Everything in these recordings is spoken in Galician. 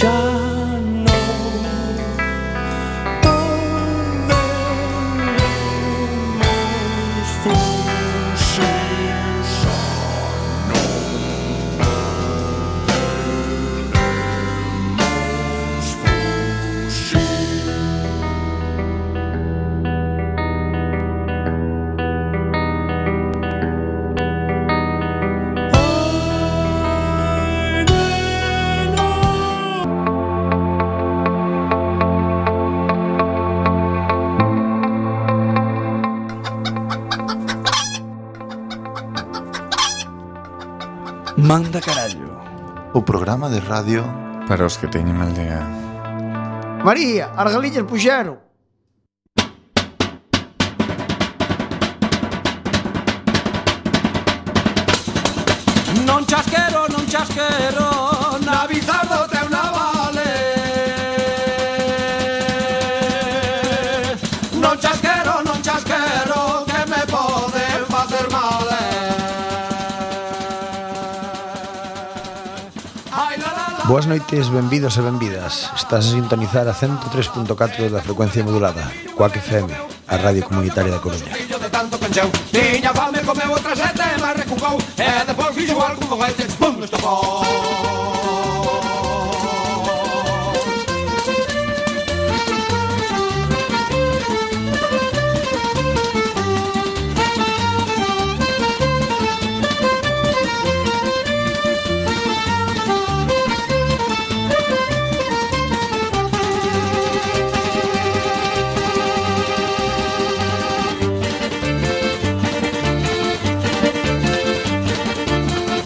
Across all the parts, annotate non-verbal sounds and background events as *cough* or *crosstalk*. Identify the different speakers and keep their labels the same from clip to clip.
Speaker 1: Ναι,
Speaker 2: já não poderemos fugir.
Speaker 3: Manda carallo.
Speaker 4: O programa de radio
Speaker 5: Para os que teñen mal día.
Speaker 6: María, as galiñas puxeron.
Speaker 2: Non chasquero, non chasquero Na bizardo teu navale Non chasquero, non chasquero Que me pode facer mal eh. Ai, la, la, la.
Speaker 7: Boas noites, benvidos e benvidas. Estás a sintonizar a 103.4 da frecuencia modulada, Coac FM, a radio comunitaria da Coruña.
Speaker 2: Fillo de tanto penseu Tiña fame, comeu outra sete e máis recucou E depois fixo algo foguete Pum, estopou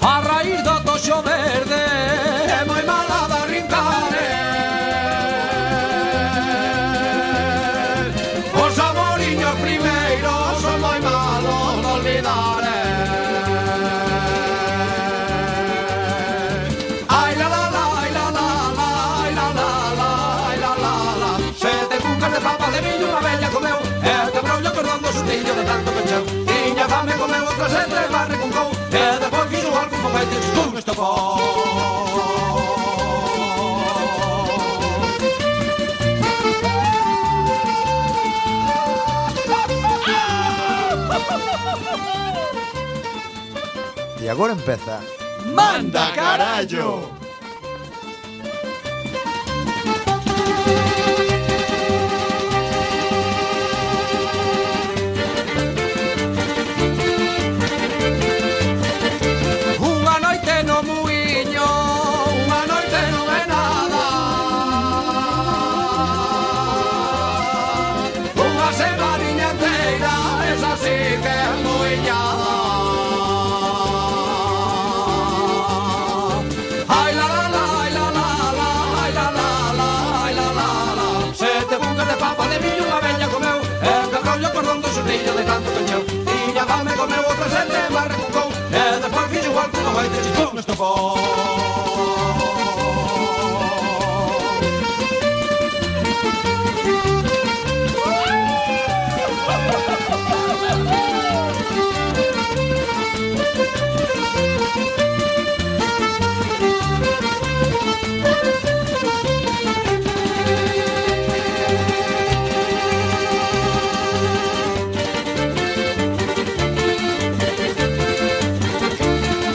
Speaker 2: A raíz do toxo verde É moi mala da rincare Os amoriños primeiros Son moi malos de olvidar eh. Ai la la la, ai la la la Ai la la la, ai la la la Sete cucas de papa de millo Unha bella comeu E te brollo cordón do sustillo de tanto pecheu Tiña fame comeu outra sete e barre con cou E depois fixo algo con feites con estopou
Speaker 7: E agora empeza
Speaker 2: Manda carallo. Unha noite no muiño, unha noite non é nada. Unha semaniña inteira, esa sí que é muiñada. Ai la la la, ai la la la, ai la la la, ai la la la. Sete bucas de papa de millo unha bella comeu, e que rollo cordón do xurrillo de tanto cancheu. Tiña fame comeu outra sete e barra cucou, e despois fixo igual que unha baita chichón estofou.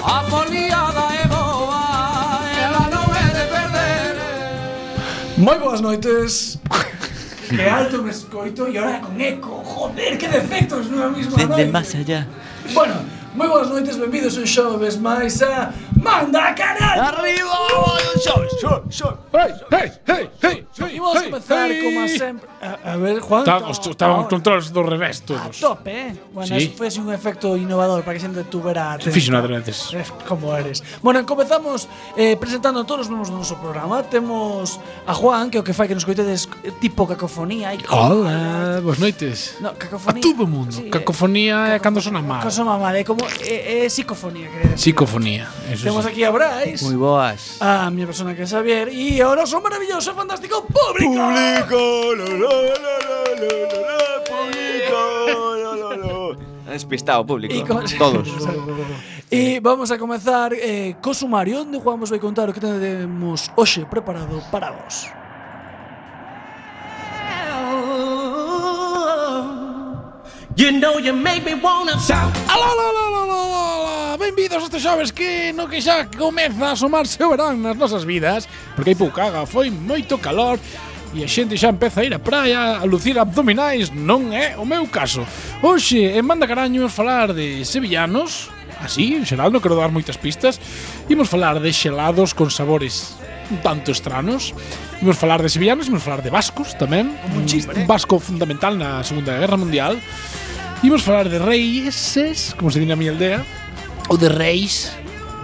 Speaker 2: A foliada é boa, ela non é de perder.
Speaker 3: Moi boas *laughs* noites.
Speaker 6: Que alto me escoito e ahora con eco. Joder, que defectos no mismo
Speaker 1: Desde más allá.
Speaker 3: Bueno, moi boas noites, benvidos un xoves vez máis a Manda Carallo.
Speaker 1: ¡Arriba! ¡Show, show, show!
Speaker 3: Imos comezar como a sempre. A, a ver, Juan.
Speaker 8: Estábamos,
Speaker 3: ta-
Speaker 8: estábamos
Speaker 3: ahora.
Speaker 8: controles do revés
Speaker 3: A
Speaker 8: todos.
Speaker 3: tope, eh. Bueno, eso
Speaker 8: Sí.
Speaker 3: fue un efecto innovador para que xente tuvera atento.
Speaker 8: Fixo nada veces.
Speaker 3: Eh, Como eres. Bueno, comezamos eh, presentando a todos os membros do noso programa. Temos a Juan, que é o que fai que nos coitedes eh, tipo cacofonía. E
Speaker 8: Hola, boas noites.
Speaker 3: No, cacofonía. eh,
Speaker 8: A todo mundo. Cacofonía é cando sona mal.
Speaker 3: Caso mamá, é eh, como é, é psicofonía, quería decir.
Speaker 8: Psicofonía. Eso
Speaker 3: Temos
Speaker 8: sí.
Speaker 3: aquí a Brais,
Speaker 1: Muy boas.
Speaker 3: a mi persona que é Xavier e o noso maravilloso, fantástico público.
Speaker 1: Despistado, público.
Speaker 3: Y con-
Speaker 1: Todos.
Speaker 3: E vamos a comezar eh, co sumario onde Juan vos vai contar o que temos hoxe preparado para vos.
Speaker 1: You know you make me wanna shout.
Speaker 8: Alá, alá, alá, alá, alá, alá. Benvidos a este xoves que no que xa comeza a asomarse o verán nas nosas vidas Porque hai poucaga, foi moito calor E a xente xa empeza a ir á praia a lucir abdominais Non é o meu caso Hoxe, en Manda Caraño, imos falar de sevillanos Así, en xeral, non quero dar moitas pistas Imos falar de xelados con sabores un tanto estranos Imos falar de sevillanos, imos falar de vascos tamén Un vasco fundamental na Segunda Guerra Mundial Imos falar de reis, como se di na miña aldea, ou de reis,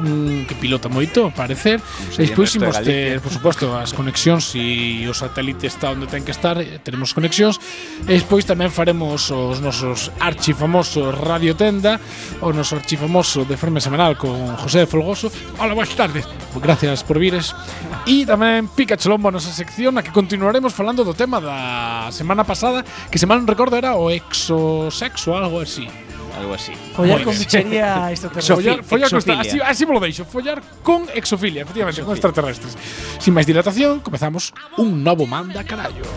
Speaker 8: mm, que pilota moito, ao parecer.
Speaker 5: se
Speaker 8: E despois
Speaker 5: llama
Speaker 8: imos
Speaker 5: esto de
Speaker 8: ter, por suposto, as conexións e o satélite está onde ten que estar, eh, teremos conexións. E despois tamén faremos os nosos archifamosos Radio Tenda, o noso archifamoso de forma semanal con José Folgoso. Hola, boas tardes. Gracias por vires. E tamén Pica Cholombo a nosa sección, a que continuaremos falando do tema da semana pasada, que se mal non recordo era o exosexo ou algo así.
Speaker 9: Algo así.
Speaker 3: Follar
Speaker 8: Moi
Speaker 3: con
Speaker 8: ben. *laughs*
Speaker 3: bichería extraterrestre.
Speaker 8: Follar, follar con esta- así,
Speaker 9: exofilia.
Speaker 8: así me lo deixo, follar con exofilia, efectivamente, con extraterrestres. Sin máis dilatación, comezamos un novo manda carallo.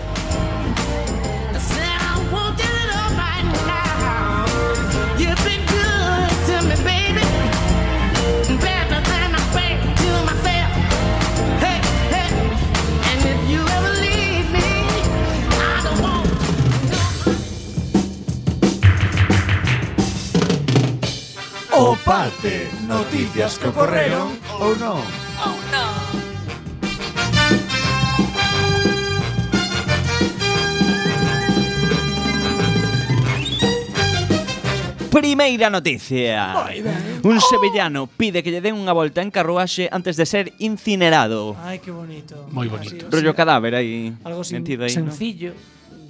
Speaker 4: O parte, noticias que ocorreron ou non.
Speaker 9: *laughs* Primeira noticia. Un sevillano pide que lle den unha volta en carruaxe antes de ser incinerado.
Speaker 3: Ai, que bonito.
Speaker 8: Moi
Speaker 3: Así,
Speaker 8: bonito.
Speaker 9: Rollo
Speaker 3: así.
Speaker 9: cadáver aí.
Speaker 3: Algo sin,
Speaker 9: metido aí, ¿no? Mm,
Speaker 3: sencillo,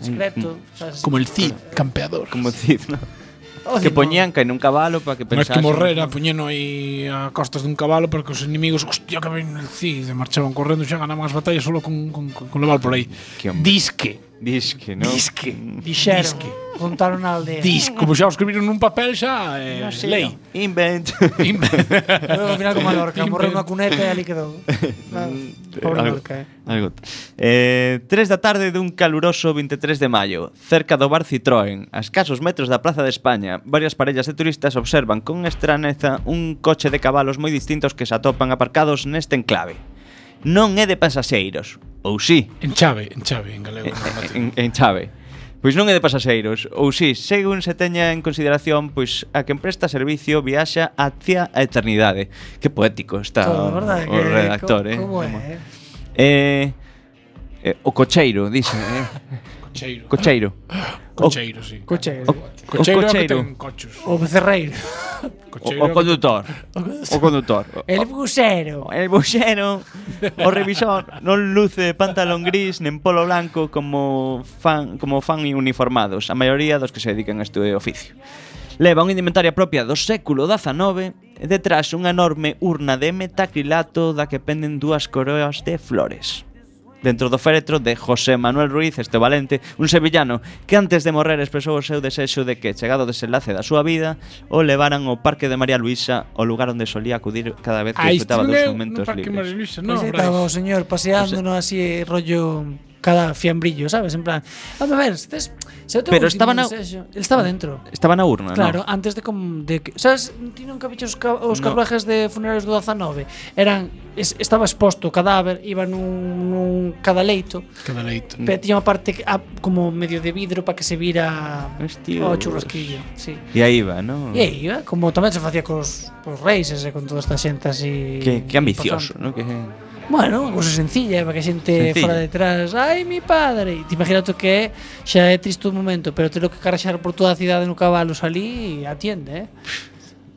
Speaker 3: discreto. sabes?
Speaker 8: Como el Cid, campeador.
Speaker 9: Como Cid, ¿no?
Speaker 3: Odio,
Speaker 9: Que poñían caen un cabalo para que
Speaker 8: Non es
Speaker 9: pensase.
Speaker 8: que morrera puñeno aí a costas dun cabalo para que os inimigos, hostia, que ven el Cid, e marchaban correndo e xa ganaban as batallas solo con, con, con, con levar por aí.
Speaker 9: Que hombre.
Speaker 8: Disque,
Speaker 9: Disque, ¿no? Mm.
Speaker 8: disque,
Speaker 3: Dixeron,
Speaker 8: disque.
Speaker 3: contaron a aldea.
Speaker 8: Disque, como xa o escribiron nun papel xa, eh,
Speaker 3: Non sei,
Speaker 8: lei.
Speaker 3: non.
Speaker 9: Invent. *laughs*
Speaker 3: Luego, al final,
Speaker 8: *laughs*
Speaker 3: como a Lorca, morreu unha cuneta e ali quedou. Ah, Pobre
Speaker 9: Algo-
Speaker 3: Lorca, eh.
Speaker 9: Algo. Eh, 3 da tarde dun caluroso 23 de maio, cerca do bar Citroën, a escasos metros da Plaza de España, varias parellas de turistas observan con estraneza un coche de cabalos moi distintos que se atopan aparcados neste enclave. Non é de pasaxeiros, ou sí,
Speaker 8: En chave, en chave, en galego.
Speaker 9: en,
Speaker 8: normal.
Speaker 9: en, en chave. Pois non é de pasaxeiros, ou si, según se teña en consideración, pois a quen presta servicio viaxa hacia a eternidade. Que poético está
Speaker 3: Todo,
Speaker 9: o,
Speaker 3: verdade, que-
Speaker 9: o ah, redactor,
Speaker 3: co-
Speaker 9: eh?
Speaker 3: Como é? eh?
Speaker 9: Eh, eh, o cocheiro, dixe, eh?
Speaker 8: Cocheiro.
Speaker 9: Cocheiro.
Speaker 8: Cocheiro, sí.
Speaker 3: Coche.
Speaker 8: Oh. Cocheiro, é
Speaker 9: O, o
Speaker 8: o que
Speaker 9: cocheiro.
Speaker 8: ten cochos.
Speaker 3: O becerreiro.
Speaker 9: O, o condutor. O condutor.
Speaker 3: El busero.
Speaker 9: O- El buxero, o revisor, non luce pantalón gris nen polo blanco como fan, como fan uniformados, a maioría dos que se dedican a este oficio. Leva unha indumentaria propia do século XIX e detrás unha enorme urna de metacrilato da que penden dúas coroas de flores. Dentro do féretro de José Manuel Ruiz, este valente, un sevillano que antes de morrer expresou o seu desexo de que, chegado o desenlace da súa vida, o levaran ao Parque de María Luisa, o lugar onde solía acudir cada vez que
Speaker 8: Ahí
Speaker 9: disfrutaba dos
Speaker 8: estive no
Speaker 9: momentos
Speaker 8: Parque
Speaker 9: libres.
Speaker 8: Mariluisa,
Speaker 3: No,
Speaker 8: no,
Speaker 3: pues
Speaker 8: Brais.
Speaker 3: estaba o señor paseándonos así eh, rollo cada fiambrillo, ¿sabes? En plan, a ver, si tes- se eu un tipo
Speaker 9: Pero Ah. estaba na-
Speaker 3: desexo- Él estaba dentro.
Speaker 9: Estaba na urna,
Speaker 3: Claro,
Speaker 9: non?
Speaker 3: antes de com, de que, sabes, ti nunca viches os, ca, os
Speaker 9: No.
Speaker 3: carruajes de funerarios do 19 Eran es, estaba exposto o cadáver, iba nun, nun cada leito,
Speaker 8: Que deleite.
Speaker 9: Mm.
Speaker 3: pero tiña unha parte que- a- como medio de vidro para que se vira
Speaker 9: Hostia.
Speaker 3: o churrasquillo, sí.
Speaker 9: E aí va, non?
Speaker 3: E aí, eh, como tamén se facía cos, cos reis ese, con toda esta xente así
Speaker 9: Que, que ambicioso,
Speaker 3: importante.
Speaker 9: non? Que...
Speaker 3: Bueno, unha cousa sencilla, eh, para que a xente
Speaker 9: Sencilla.
Speaker 3: fora detrás Ai, mi padre E Te imagina tú que xa é triste un momento Pero telo que carxar por toda a cidade no cabalo salí E atiende, eh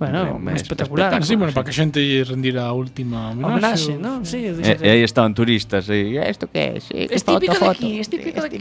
Speaker 3: Bueno,
Speaker 9: Hombre, es
Speaker 3: espectacular
Speaker 8: Ah, sí, bueno,
Speaker 9: sí.
Speaker 8: para que a xente lle rendira a última
Speaker 3: A homenaxe,
Speaker 8: homenaxe.
Speaker 3: non? Sí, eu
Speaker 9: E,
Speaker 3: dixen,
Speaker 9: e aí estaban turistas, e isto que é? Sí, que
Speaker 3: Es típico de
Speaker 9: foto,
Speaker 3: aquí,
Speaker 9: foto.
Speaker 3: es típico de aquí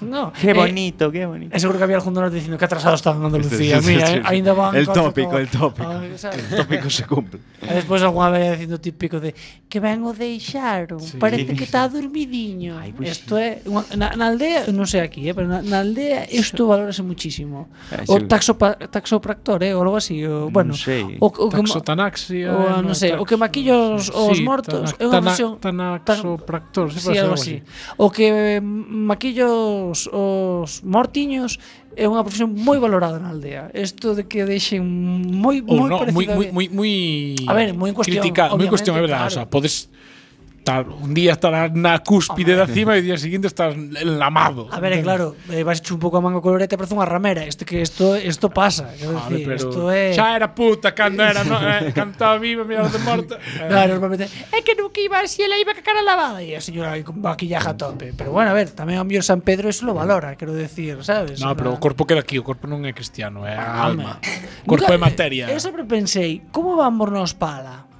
Speaker 3: No, eh,
Speaker 9: Que bonito, que bonito.
Speaker 3: E *laughs* seguro que había algún donor dicindo que atrasado estaban en Andalucía.
Speaker 9: Sí, sí, sí,
Speaker 3: Mira,
Speaker 9: sí,
Speaker 3: eh,
Speaker 9: sí.
Speaker 3: ainda van.
Speaker 9: El
Speaker 3: cosas
Speaker 9: tópico,
Speaker 3: como-
Speaker 9: el tópico.
Speaker 3: Ah, ¿sabes?
Speaker 9: tópico se cumple.
Speaker 3: E despois algunha vez dicindo típico de que ben o deixaron, sí. parece que está dormidiño.
Speaker 9: Ai, pois
Speaker 3: Isto é, unha- na, na aldea, non sei aquí, eh, pero na, na aldea isto valórase muchísimo.
Speaker 9: Ah,
Speaker 3: O
Speaker 9: sí.
Speaker 3: taxopa, taxopractor, eh, ou algo así, o, bueno, bueno,
Speaker 9: sei.
Speaker 3: o, o que ma-
Speaker 8: Taxotanaxia.
Speaker 3: o, non sei, o que maquilla os- os mortos é unha versión-
Speaker 8: Taxopractor, sí,
Speaker 3: Sí, algo así. O que maquillos os mortiños é unha profesión moi valorada na aldea. Isto de que deixen moi
Speaker 8: Ou
Speaker 3: moi
Speaker 8: no, moi,
Speaker 3: parecida
Speaker 8: moi,
Speaker 3: de-
Speaker 8: moi, moi
Speaker 3: A ver, moi en cuestión,
Speaker 8: criticado, moi en cuestión, é
Speaker 3: obviamente,
Speaker 8: verdad,
Speaker 3: claro.
Speaker 8: o sea, podes estar un día estarás na cúspide da cima e o día seguinte estás enlamado.
Speaker 3: A ver, é claro, eh, vas hecho un pouco a manga colorete, parece unha ramera. Isto que isto isto pasa, quero
Speaker 8: A
Speaker 3: dicir,
Speaker 8: ver, pero
Speaker 3: isto é
Speaker 8: xa era puta cando era, no, eh, cando estaba viva, mira de
Speaker 3: *laughs*
Speaker 8: morta. Eh,
Speaker 3: Claro, normalmente É que nunca iba así, ela iba ca cara lavada E a señora aí con maquillaje a tope Pero bueno, a ver, tamén ao mellor San Pedro Eso lo valora, quero decir, sabes?
Speaker 8: no,
Speaker 3: En
Speaker 8: pero o
Speaker 3: plan-
Speaker 8: corpo queda aquí, o corpo non é cristiano, é a
Speaker 3: Home.
Speaker 8: alma. Corpo é
Speaker 3: Nunca-
Speaker 8: materia.
Speaker 3: Eu sempre pensei, como vamos nos pala?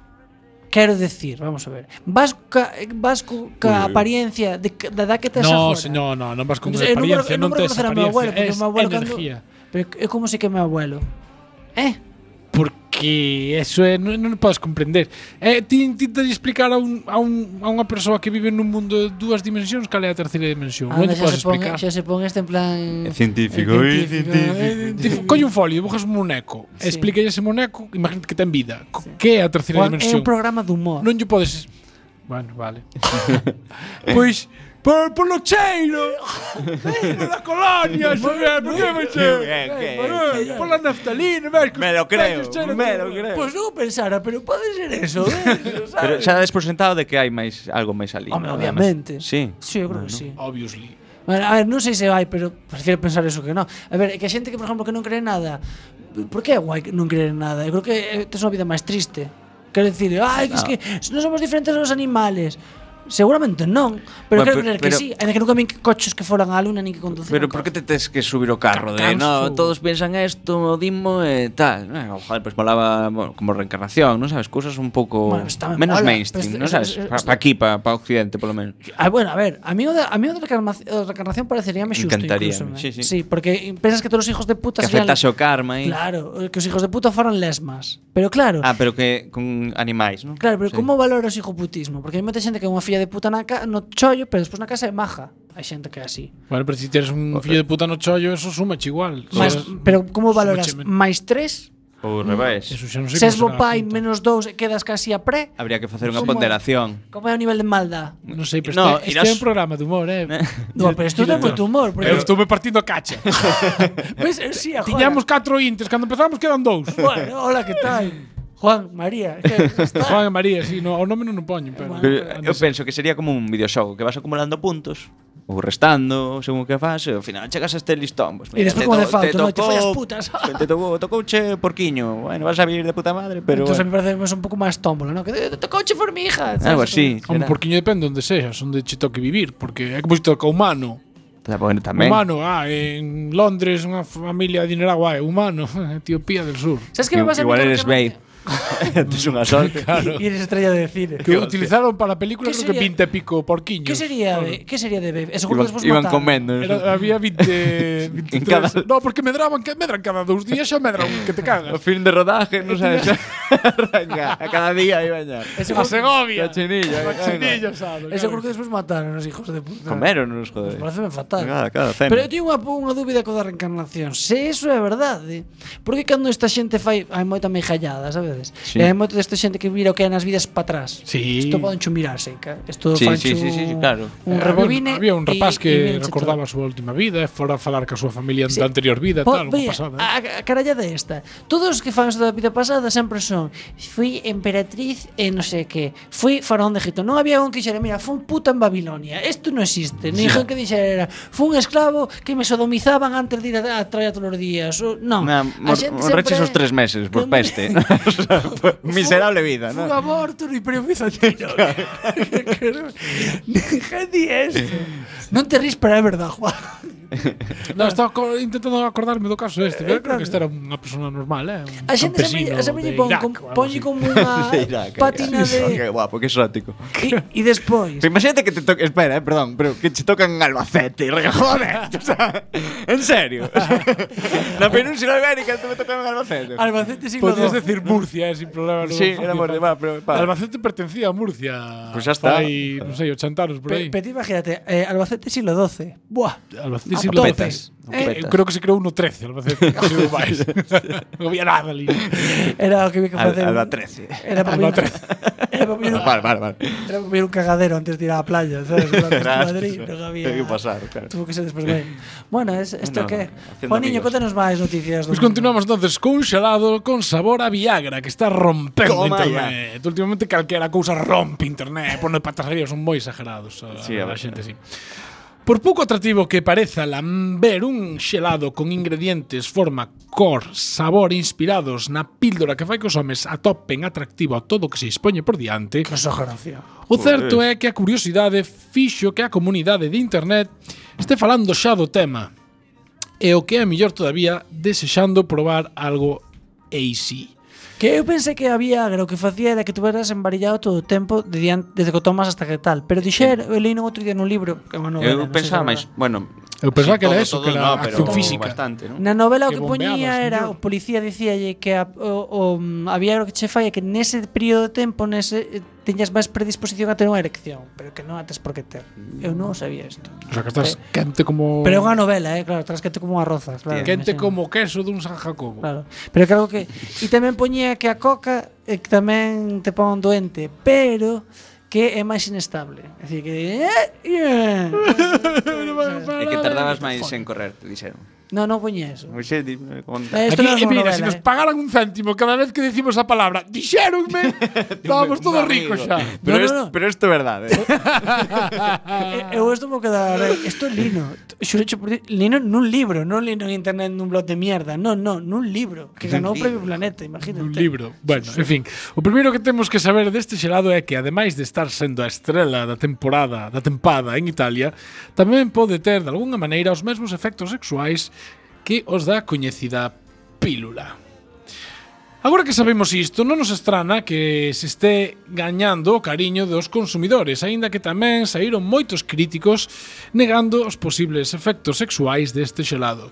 Speaker 3: Quero decir, vamos a ver, vas ca, vas co, ca apariencia de, ca- da edad que tes
Speaker 8: No,
Speaker 3: agora.
Speaker 8: señor, no, non vas con
Speaker 3: Entonces, eu non vou- eu
Speaker 8: apariencia, non Eh, tes
Speaker 3: vou reconocer a meu abuelo, porque
Speaker 8: apariencia,
Speaker 3: o
Speaker 8: es
Speaker 3: meu abuelo cando-
Speaker 8: energía.
Speaker 3: Pero é como se que meu abuelo. Eh?
Speaker 8: Porque eso é, non, non podes comprender. É, ti intentas explicar a, un, a, un, a unha persoa que vive nun mundo de dúas dimensións cal é a terceira dimensión. non
Speaker 3: Anda,
Speaker 8: te
Speaker 3: xa Ah,
Speaker 8: podes
Speaker 3: se pon,
Speaker 8: explicar.
Speaker 3: xa se pon este en plan
Speaker 5: Científico, eh, científico.
Speaker 8: Ti colle un folio, dibujas un muñeco,
Speaker 3: Sí.
Speaker 8: sí. explícalle ese muñeco, imagínate que ten vida. Co- Que é a terceira
Speaker 3: Juan, é
Speaker 8: dimensión?
Speaker 3: un programa de humor.
Speaker 8: Non lle podes... Bueno,
Speaker 9: *laughs*
Speaker 8: vale. pois, por, por lo cheiro, por la colonia, xover, por que me cheiro?
Speaker 9: Ben, ben,
Speaker 8: Eh, Por la naftalina, ves,
Speaker 9: Me lo creo, me lo creo.
Speaker 3: Pois non pensara, pero pode ser eso,
Speaker 9: *laughs*
Speaker 3: eh? sabes?
Speaker 9: Pero xa dades por sentado de que hai máis algo máis ali.
Speaker 3: Home,
Speaker 9: nada máis.
Speaker 3: obviamente.
Speaker 9: Sí.
Speaker 3: Sí, eu creo que sí.
Speaker 8: Obviously.
Speaker 3: Bueno, a ver, non sei se vai, pero prefiero pensar eso que non. A ver, é que a xente que, por exemplo, que non cree en nada, por que é guai que non creer en nada? Eu creo que eh, tes unha vida máis triste. Quero dicir, ai,
Speaker 9: Ah.
Speaker 3: que es que non somos diferentes aos animales. Seguramente non, pero quero
Speaker 9: Bueno, pero-
Speaker 3: creer que
Speaker 9: pero-
Speaker 3: sí. Ainda que nunca min coches que foran á luna nin que conducían.
Speaker 9: Pero por que te tes que subir o carro? De,
Speaker 8: Canso.
Speaker 9: no, todos piensan esto, o dimo e tal. Bueno, joder, pues molaba bueno, como reencarnación, non sabes? Cousas un pouco
Speaker 3: Bueno, pues tamén
Speaker 9: menos
Speaker 3: mola,
Speaker 9: mainstream,
Speaker 3: pero
Speaker 9: non
Speaker 3: este-
Speaker 9: sabes?
Speaker 3: este-
Speaker 9: Pa,
Speaker 3: este-
Speaker 9: pa aquí, pa, pa occidente, polo menos.
Speaker 3: Ah, bueno, a ver, a mí o da, a mí o da reencarnación, o da reencarnación pareceríame xusto
Speaker 9: Encantaríame,
Speaker 3: incluso. ¿eh?
Speaker 9: sí, sí.
Speaker 3: sí, porque pensas que todos os hijos de puta
Speaker 9: Que
Speaker 3: serían-
Speaker 9: afectase o karma, aí.
Speaker 3: Claro, eh, que os hijos de puta foran lesmas. Pero claro,
Speaker 9: Ah, pero que con animais, non?
Speaker 3: Claro, pero
Speaker 9: Sí.
Speaker 3: como valoras o hijoputismo? Porque hai moita xente que é unha filla de puta na ca no chollo, pero despois na casa é maja. Hai xente que é así.
Speaker 8: Bueno, pero si tienes un fillo de puta no chollo, eso suma igual.
Speaker 3: Mas,
Speaker 8: sabes?
Speaker 3: pero como valoras
Speaker 8: Súmacheme.
Speaker 3: máis tres?
Speaker 9: Ou ao
Speaker 3: Mm.
Speaker 9: revés.
Speaker 8: Eso xa non sei
Speaker 3: Se es bo
Speaker 8: como será a
Speaker 3: pai
Speaker 8: junta.
Speaker 3: menos dous e quedas casi a pre?
Speaker 9: Habría que facer unha
Speaker 3: Suma.
Speaker 9: ponderación.
Speaker 3: Como é o nivel de maldad?
Speaker 8: Non sei, pero
Speaker 9: No,
Speaker 8: este, este
Speaker 9: irás-
Speaker 8: é un programa de humor,
Speaker 9: *laughs*
Speaker 8: eh.
Speaker 3: No, pero isto ten moito humor. Porque,
Speaker 8: Eu estuve partindo a cacha.
Speaker 3: Ves, eh, sí,
Speaker 8: *laughs*
Speaker 3: a
Speaker 8: Tiñamos 4 intes, cando empezamos quedan dous.
Speaker 3: Bueno, hola, que tal? Juan, María. que
Speaker 9: *laughs*
Speaker 3: está-
Speaker 8: Juan e María, si, sí, no, o nome non o poño, pero...
Speaker 3: Bueno.
Speaker 9: Pero eu penso que sería como un videoxogo que vas acumulando puntos ou restando, según que fas, e ao final chegas a este listón. Pues,
Speaker 3: E despois como de fauto, non? Te follas putas.
Speaker 9: *laughs* Te tocou, tocouche porquiño. Bueno, vas a vivir de puta madre, pero
Speaker 3: Entonces
Speaker 9: bueno.
Speaker 3: a mí parece un pouco máis tómbola, ¿no? Que "Eh, te coche formija.
Speaker 9: Algo así.
Speaker 8: Home, porquiño depende onde sexas, onde che toque vivir, porque é como se toca humano.
Speaker 9: Está bueno tamén.
Speaker 8: Humano, ah, en Londres, unha familia adinerada, guai, humano, *laughs* Etiopía del Sur.
Speaker 3: Sabes que me pasa a mí
Speaker 9: Igual
Speaker 3: con
Speaker 9: eres
Speaker 3: Reencarnación?
Speaker 9: Bey. *laughs* Tes unha sorte.
Speaker 3: Y eres estrella de cine.
Speaker 8: Que utilizaron para a película,
Speaker 3: ¿Qué
Speaker 8: creo que
Speaker 3: sería?
Speaker 8: 20 e pico porquiños.
Speaker 3: ¿Qué sería
Speaker 8: Claro.
Speaker 3: de, ¿Qué sería de Babe? Eh, Seguro que
Speaker 9: Iban,
Speaker 3: despois
Speaker 9: iban
Speaker 3: mataron.
Speaker 9: comendo.
Speaker 8: Era,
Speaker 9: *laughs*
Speaker 8: había 20, 23.
Speaker 9: cada-
Speaker 8: No, porque medraban, que medran cada dous días, xa medran que te
Speaker 9: O *laughs*
Speaker 8: cagas. *laughs*
Speaker 9: fin de rodaje, non sabes. *laughs* Arranca, a cada día iban ya.
Speaker 3: Eh,
Speaker 8: A
Speaker 3: Seguro,
Speaker 8: Segovia.
Speaker 9: Cochinillo, eh,
Speaker 8: Cochinillo, sabe.
Speaker 3: eh, seguro que despois mataron os hijos de puta.
Speaker 9: Comeron nos joder.
Speaker 3: Pareceme fatal.
Speaker 9: Cada, cada cena.
Speaker 3: Pero eu teño unha, unha dúbida co da reencarnación Se eso é verdade Porque cando esta xente fai Hai moita meijallada, sabedes?
Speaker 9: Sí.
Speaker 3: E hai moita desta xente que mira o que hai nas vidas para atrás
Speaker 8: Sí.
Speaker 3: Isto poden chumirar seca Isto
Speaker 9: Sí,
Speaker 3: fan chu-
Speaker 9: sí, sí, sí, sí, claro.
Speaker 3: Un
Speaker 8: Eh,
Speaker 3: rebobine
Speaker 8: había, un-
Speaker 3: e-
Speaker 8: había un
Speaker 3: e
Speaker 8: rapaz que
Speaker 3: víronse
Speaker 8: recordaba
Speaker 3: todo.
Speaker 8: a súa última vida e fora a falar ca súa familia
Speaker 3: Sí.
Speaker 8: da anterior vida,
Speaker 3: Po-
Speaker 8: tal, unha
Speaker 3: ve,
Speaker 8: pasada. eh.
Speaker 3: A, a carallada esta. Todos os que fan isto da vida pasada sempre son fui emperatriz e non sei que, fui faraón de Egipto. Non había un que dixera, mira, fun puta en Babilonia. Isto non existe. Ni yeah. que dixera, fun esclavo que me sodomizaban antes de ir a, a traer todos os días. O, non.
Speaker 9: Na, mor, reches os tres meses por peste. *laughs* O sea, por Miserable vida,
Speaker 3: ¿no?
Speaker 9: ¿no?
Speaker 3: Fun aborto no Imperio Bizantino. Ninguén di esto. Non te ris, pero é verdad, Juan.
Speaker 8: No, estaba co- intentando acordarme do caso
Speaker 9: Eh,
Speaker 8: este, pero eu
Speaker 3: claro.
Speaker 8: creo que este era unha persona normal, eh? Un
Speaker 3: A xente
Speaker 8: campesino
Speaker 3: sempre, sempre lle
Speaker 8: de
Speaker 3: pon,
Speaker 8: Irak,
Speaker 3: com-
Speaker 8: o algo
Speaker 3: ponlle
Speaker 8: así.
Speaker 3: como
Speaker 8: *laughs*
Speaker 9: *laughs*
Speaker 3: unha
Speaker 9: De Irak,
Speaker 3: patina
Speaker 9: eh, oh,
Speaker 3: de...
Speaker 9: Qué guapo, qué exótico.
Speaker 3: E despois,
Speaker 9: Pero imagínate que te toque. Espera, eh, perdón, pero que te tocan en Albacete. re- Joder, *laughs* o sea, en serio. *laughs* La península ibérica te me tocan en Albacete.
Speaker 3: Albacete siglo
Speaker 8: Podías
Speaker 3: II.
Speaker 8: decir Murcia, eh, sin problema.
Speaker 9: Sí, era por demás, pero. pa.
Speaker 8: Albacete pertencía a Murcia.
Speaker 9: Pues ya está.
Speaker 8: Fai, non sei, 80 anos por
Speaker 3: Pe-
Speaker 8: aí.
Speaker 3: Pero imagínate, eh, Albacete siglo XII. Buah.
Speaker 8: Albacete siglo
Speaker 9: Petas.
Speaker 8: Eh,
Speaker 9: Petas.
Speaker 8: creo que se creou no 13, Albacete. Se
Speaker 3: *laughs*
Speaker 8: non máis. non había nada ali.
Speaker 3: Era o que había que
Speaker 9: Al-
Speaker 3: facer.
Speaker 9: Alba 13.
Speaker 3: Era para
Speaker 8: Alba
Speaker 3: ver-
Speaker 8: 13.
Speaker 3: *laughs* Era para ver-
Speaker 5: Vale, vale, vale.
Speaker 3: era para ver un cagadero antes de ir á playa,
Speaker 9: *laughs*
Speaker 3: sabes? En Madrid, non había.
Speaker 5: Ten que pasar, claro.
Speaker 3: Tuvo que ser despois ben. Bueno, es, esto
Speaker 9: No,
Speaker 3: que...
Speaker 9: haciendo
Speaker 3: Juaniño,
Speaker 9: amigos.
Speaker 3: contanos máis noticias. do mundo.
Speaker 8: Pois Pues continuamos entonces cun xalado con sabor a Viagra que está rompendo
Speaker 9: Toma
Speaker 8: internet. Últimamente calquera cousa rompe internet, por non patasarios son moi exagerados. A,
Speaker 9: Sí,
Speaker 8: a,
Speaker 9: a ver.
Speaker 8: xente sí. Por pouco atractivo que pareza lamber un xelado con ingredientes, forma, cor, sabor inspirados na píldora que fai que os homes atopen atractivo a todo o que se expoñe por diante,
Speaker 3: Que sojoración.
Speaker 8: O certo é que a curiosidade fixo que a comunidade de internet este falando xa do tema e o que é mellor todavía desexando probar algo AC.
Speaker 3: Que eu pensei que había agro que facía era que tuveras embarillado todo o tempo de dian- desde que o tomas hasta que tal. Pero dixer, eu leí no outro día nun libro, que é unha novela. non
Speaker 9: Eu
Speaker 3: sei se
Speaker 9: pensaba
Speaker 3: é
Speaker 9: máis,
Speaker 3: verdad.
Speaker 9: bueno,
Speaker 8: Eu pensaba
Speaker 9: sí,
Speaker 8: que era
Speaker 9: todo,
Speaker 8: eso,
Speaker 9: todo
Speaker 8: que era
Speaker 9: no, pero
Speaker 8: acción física.
Speaker 9: Bastante, ¿no?
Speaker 3: Na novela o
Speaker 8: Que
Speaker 3: que
Speaker 8: bombeabas,
Speaker 3: poñía era
Speaker 8: mellor.
Speaker 3: o policía dicíalle que a, o, o, mm, había agro que che falla que nese período de tempo nese eh, tiñas máis predisposición a ter unha erección, pero que non a tes por que ter. Eu non o sabía isto.
Speaker 8: O sea, que estás quente
Speaker 3: Eh,
Speaker 8: como
Speaker 3: Pero é unha novela, eh, claro, tras que te como unha roza, claro.
Speaker 8: quente
Speaker 3: imagino.
Speaker 8: como queso dun San Jacobo.
Speaker 3: Claro. Pero claro que e tamén poñía que a coca eh, que tamén te pon doente, pero que é máis inestable. Así que eh, eh.
Speaker 9: É que tardabas máis en correr, te dixeron.
Speaker 3: No, non poñía eso.
Speaker 9: Oxe, di- conta.
Speaker 3: Eh, Esto
Speaker 8: Aquí,
Speaker 3: non é unha
Speaker 8: eh, mira,
Speaker 3: novela,
Speaker 8: si
Speaker 3: eh.
Speaker 8: nos pagaran un céntimo cada vez que decimos a palabra,
Speaker 9: *laughs*
Speaker 8: dixéronme, estábamos
Speaker 9: Un
Speaker 8: todos
Speaker 9: amigo.
Speaker 8: ricos xa.
Speaker 3: No,
Speaker 9: Pero,
Speaker 3: no,
Speaker 9: es-
Speaker 3: no.
Speaker 9: pero esto é verdade.
Speaker 3: Eh, Eu estou que dar, isto é lino. Xurecho por Dios, lino nun libro, non lino en internet nun blog de mierda. Non, non, nun libro que ganou o Premio Planeta, imagínate.
Speaker 8: Un libro. Bueno, en fin, o primeiro que temos que saber deste xelado é que ademais de estar sendo a estrela da temporada, da tempada en Italia, tamén pode ter de algunha maneira os mesmos efectos sexuais que os da coñecida pílula. Agora que sabemos isto, non nos estrana que se este gañando o cariño dos consumidores, aínda que tamén saíron moitos críticos negando os posibles efectos sexuais deste xelado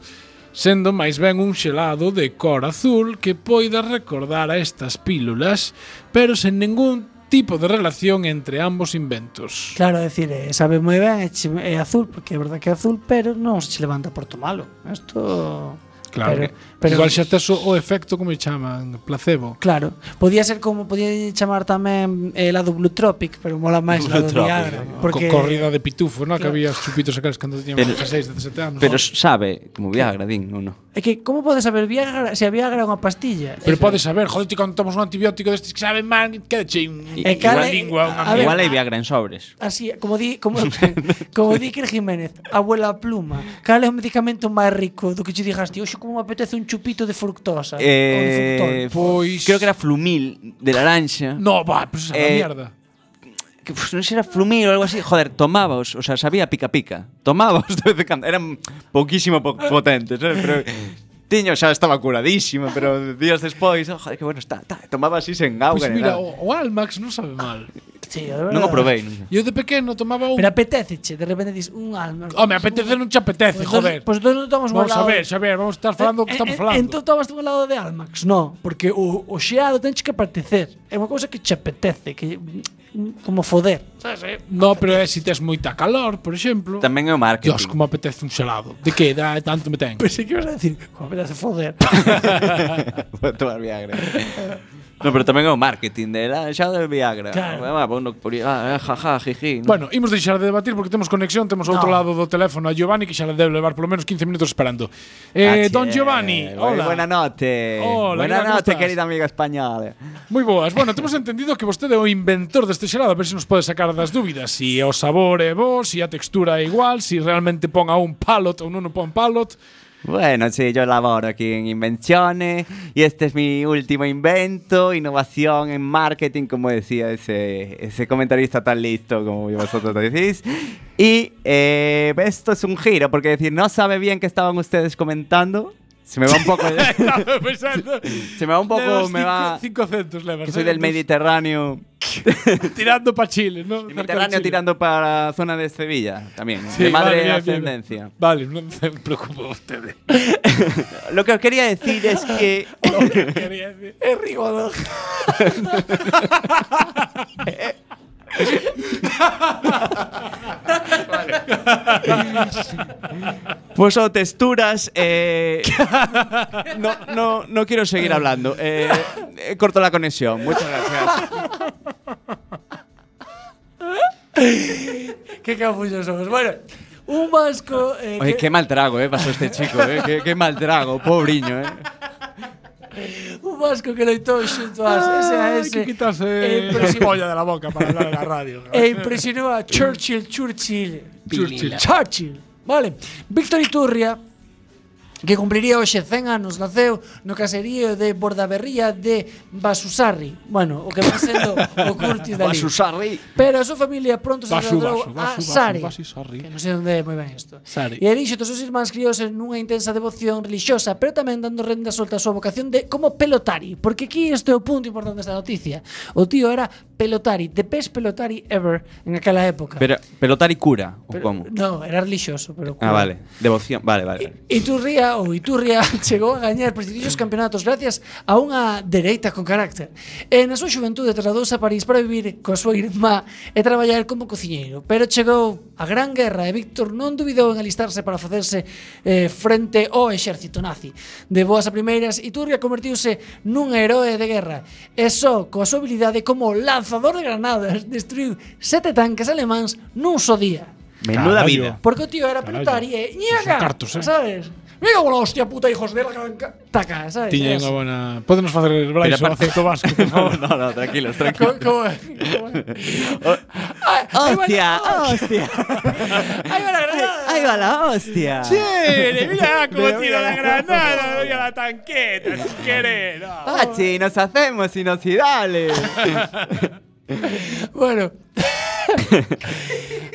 Speaker 8: sendo máis ben un xelado de cor azul que poida recordar a estas pílulas, pero sen ningún tipo de relación entre ambos inventos.
Speaker 3: Claro, é dicir, eh, sabe moi ben, é, che- é azul, porque é verdad que é azul, pero non se che levanta por tomalo. Isto Pero, pero
Speaker 8: Igual xa tes o o efecto como chaman, placebo.
Speaker 3: Claro, podía ser como podía chamar tamén eh, lado Blue Tropic, pero mola máis lado Viagra, porque
Speaker 8: Porque... Co corrida de pitufo, non?
Speaker 3: Claro.
Speaker 8: Que había os chupitos aqueles cando tiñamos
Speaker 9: Pero-
Speaker 8: 16, 17 anos.
Speaker 9: Pero sabe, como Viagra, din, ou non?
Speaker 3: é que como podes saber Viagra se a Viagra é unha pastilla? É-
Speaker 8: Pero podes saber, joder, ti cando tomas un antibiótico destes que saben mal, quedache un,
Speaker 9: E
Speaker 8: unha
Speaker 3: cale-
Speaker 8: lingua, unha
Speaker 3: Eh, A ver.
Speaker 9: Igual hai Viagra en sobres.
Speaker 3: Así, como di,
Speaker 8: *laughs*
Speaker 3: como, *laughs* como di Iker Jiménez, abuela pluma, cal é o medicamento máis rico do que che digas, tío, como me apetece un chupito de fructosa ou de fructol.
Speaker 9: Eh,
Speaker 8: Pois-
Speaker 9: Creo que era flumil de laranxa.
Speaker 8: No, va, pero esa é a
Speaker 9: Eh,
Speaker 8: mierda.
Speaker 9: que pues, non sei, era flumir ou algo así, joder, tomábaos, o sea, sabía pica pica. *laughs* Tomábaos de vez en cando, eran poquísimo po potentes, ¿sabes? pero tiño xa estaba curadísimo, pero días despois, oh, joder, que bueno está, está. tomaba así sen auga.
Speaker 8: Pois Pues
Speaker 9: ni
Speaker 8: mira, oh, eh.
Speaker 9: nada.
Speaker 8: o, o Almax non sabe mal.
Speaker 3: Sí, de verdade.
Speaker 9: non o probei. Non.
Speaker 8: Eu de pequeno tomaba un...
Speaker 3: Pero apetéceche, de repente dis un alma. Pues
Speaker 8: Home, apetece non te apetece,
Speaker 3: Pois dos-
Speaker 8: joder.
Speaker 3: Pois dos non tomamos
Speaker 8: Vamos a
Speaker 3: molado. Eh,
Speaker 8: ver, Xavier, vamos a estar falando o que estamos falando.
Speaker 3: Entón tomas un lado de Almax, no, porque o, o xeado tenches que apetecer. É unha cousa que che apetece, que mm, como foder. eh?
Speaker 8: no, pero eh, é se tes moita calor, por exemplo.
Speaker 9: Tamén é o marketing.
Speaker 8: Dios, como apetece un xelado. De que? Da, tanto me ten.
Speaker 3: Pensei que ibas a decir, como apetece
Speaker 8: *laughs*
Speaker 3: foder.
Speaker 9: *laughs* Vou tomar Viagra. no, pero tamén é o marketing de la, xa de Viagra.
Speaker 3: Claro.
Speaker 9: Ah, bueno, por, ah, jaja, jiji. non?
Speaker 8: Bueno, imos deixar de debatir porque temos conexión, temos ao outro
Speaker 3: No.
Speaker 8: lado do teléfono a Giovanni que xa le debe levar polo menos 15 minutos esperando. Eh,
Speaker 9: Ah,
Speaker 8: don
Speaker 9: che,
Speaker 8: Giovanni,
Speaker 9: bu-
Speaker 8: hola.
Speaker 9: Buena noche.
Speaker 8: Hola,
Speaker 9: buena
Speaker 8: mira, ¿cómo
Speaker 9: noche,
Speaker 8: estás?
Speaker 9: querida amiga española.
Speaker 8: Moi boas. Bueno, temos entendido que vostede é o inventor deste xelado, a ver se nos pode sacar das dúbidas, si o sabor é bo, si a textura é igual, si realmente pon a un palot ou non o pon palot.
Speaker 9: Bueno, sí, yo laboro aquí en invenciones y este es mi último invento, innovación en marketing, como decía ese, ese comentarista tan listo como vosotros decís. Y eh, esto es un giro, porque decir, no sabe bien qué estaban ustedes comentando. Se me va un
Speaker 8: *laughs*
Speaker 9: poco...
Speaker 8: Estaba pensando.
Speaker 9: se me va un poco...
Speaker 8: Levas
Speaker 9: Me
Speaker 8: cinco-
Speaker 9: va...
Speaker 8: cinco centos levas.
Speaker 9: Que soy
Speaker 8: eh,
Speaker 9: del
Speaker 8: entonces.
Speaker 9: Mediterráneo. *laughs*
Speaker 8: tirando para Chile, ¿no?
Speaker 9: El
Speaker 8: Cerca de
Speaker 9: Mediterráneo
Speaker 8: Chile.
Speaker 9: tirando para zona de Sevilla también.
Speaker 8: Sí,
Speaker 9: de madre
Speaker 8: vale, bien, bien.
Speaker 9: ascendencia.
Speaker 8: Vale, no se preocupen
Speaker 9: *laughs*
Speaker 8: ustedes.
Speaker 9: Lo que os quería decir es *laughs* que...
Speaker 8: *laughs* es rigor.
Speaker 9: Pois o Pues texturas *laughs* eh, no, no, no quiero seguir hablando. Eh, eh, corto la conexión. Muchas gracias.
Speaker 3: Qué capullos somos. Bueno, un vasco. eh,
Speaker 9: Oye,
Speaker 3: que-
Speaker 9: qué mal trago, eh, pasó este chico, eh. Qué, qué mal trago, pobriño, eh.
Speaker 3: Un vasco que loitou xunto ás
Speaker 8: Hay
Speaker 3: SAS
Speaker 8: Ah, que quitarse
Speaker 9: Eh,
Speaker 3: e
Speaker 8: *laughs* la
Speaker 3: impresionou,
Speaker 8: polla de la boca para hablar en la
Speaker 9: *laughs*
Speaker 8: radio.
Speaker 3: e impresionou a Churchill, Churchill,
Speaker 8: Churchill.
Speaker 3: Churchill. Vale, Víctor Iturria, que cumpliría hoxe 100 anos, naceu no caserío de Bordaberría de Basusarri. Bueno, o que vai sendo o Curtis dali.
Speaker 9: Basusarri.
Speaker 3: Pero a súa familia pronto se
Speaker 8: Basu,
Speaker 3: trasladou a
Speaker 8: basu, basu,
Speaker 3: Sari.
Speaker 8: basu, basu,
Speaker 3: Que non sei onde é moi ben isto.
Speaker 8: Sari.
Speaker 3: E elixo dos seus irmáns criouse nunha intensa devoción relixiosa, pero tamén dando renda solta a súa vocación de como pelotari, porque aquí este é o punto importante desta noticia. O tío era pelotari, the best pelotari ever en aquela época.
Speaker 9: Pero, pelotar y cura, o como?
Speaker 3: No, era relixioso, pero
Speaker 9: Ah, vale. Devoción. Vale, vale. vale.
Speaker 3: Iturria ou Iturria *laughs* chegou a gañar prestixiosos campeonatos gracias a unha dereita con carácter. E na súa xuventude trasladouse a París para vivir coa súa irmá e traballar como cociñeiro. Pero chegou a Gran Guerra e Víctor non dubidou en alistarse para facerse eh, frente ao exército nazi. De boas a primeiras, Iturria convertiuse nun heroe de guerra e só coa súa habilidade como lanzador de granadas destruiu sete tanques alemáns nun só día.
Speaker 9: Menuda
Speaker 8: Carallo.
Speaker 9: vida.
Speaker 3: Porque o tío era
Speaker 8: Carallo.
Speaker 3: pelotari e ñaga,
Speaker 8: Son cartos, eh.
Speaker 3: sabes? Mira como la hostia puta, hijos de la gran ca- taca, sabes?
Speaker 8: Tiña unha
Speaker 3: Sabes?
Speaker 8: buena... Podemos facer Brais o acento vasco,
Speaker 9: *laughs*
Speaker 8: por
Speaker 9: *laughs*
Speaker 8: favor.
Speaker 9: No, no, no, tranquilos,
Speaker 3: Co-
Speaker 9: tranquilos.
Speaker 3: como- como-
Speaker 9: *laughs*
Speaker 3: Ay, ay,
Speaker 9: Oh, Hostia,
Speaker 3: bueno, *laughs*
Speaker 9: hostia.
Speaker 3: ay, bueno, granada.
Speaker 9: Ahí va la hostia.
Speaker 8: *laughs* Chévere, mira como tira la granada, mira la tanqueta, sin querer. no.
Speaker 9: Pachi, nos hacemos inoxidales. *laughs*
Speaker 3: Bueno. *laughs*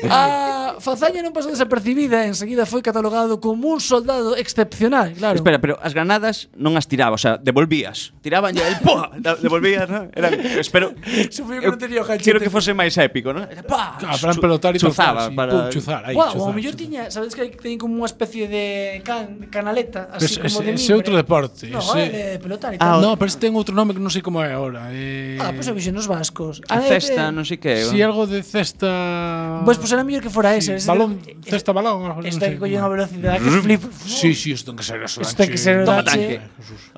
Speaker 3: A fazaña non pasou desapercibida e enseguida foi catalogado como un soldado excepcional, claro.
Speaker 9: Espera, pero as granadas non as tiraba, o sea, devolvías. Tiraban ya *laughs* el poa, da- devolvías, ¿no? Era, espero.
Speaker 3: Supoño que
Speaker 9: eu
Speaker 3: non tenía o ganchete.
Speaker 9: Quiero que fose máis épico, ¿no? Era pa.
Speaker 8: Ah, Fran Pelotari
Speaker 9: Chu- chuzaba
Speaker 8: sí,
Speaker 9: para
Speaker 8: pum, chuzar, aí,
Speaker 3: Guau,
Speaker 8: chuzar,
Speaker 3: ao mellor
Speaker 8: chuzar.
Speaker 3: tiña, sabedes que hai- teñen como unha especie de can, canaleta, así
Speaker 8: Ese-
Speaker 3: como de
Speaker 8: ese- ese
Speaker 3: mimbre.
Speaker 8: outro deporte,
Speaker 3: No,
Speaker 8: ese-
Speaker 3: é de pelotari. tal.
Speaker 9: Ah,
Speaker 8: No, pero este ten outro nome que non sei como é agora. Eh,
Speaker 3: Ah, pois pues, avisen os vascos.
Speaker 9: A
Speaker 3: Ah, eh,
Speaker 9: cesta,
Speaker 3: eh,
Speaker 9: non sei que.
Speaker 8: Si algo de cesta...
Speaker 3: Pois pues, era mellor que fora ese. eh,
Speaker 8: Sí,
Speaker 3: ese
Speaker 8: balón,
Speaker 3: que-
Speaker 8: cesta balón. algo así,
Speaker 3: Esta
Speaker 8: non
Speaker 3: que
Speaker 8: sei
Speaker 3: colle unha
Speaker 8: como.
Speaker 3: velocidade que flipa.
Speaker 8: Sí, sí, isto ten que ser eso.
Speaker 3: Isto ten que ser o
Speaker 9: Toma
Speaker 3: Dache.
Speaker 9: tanque.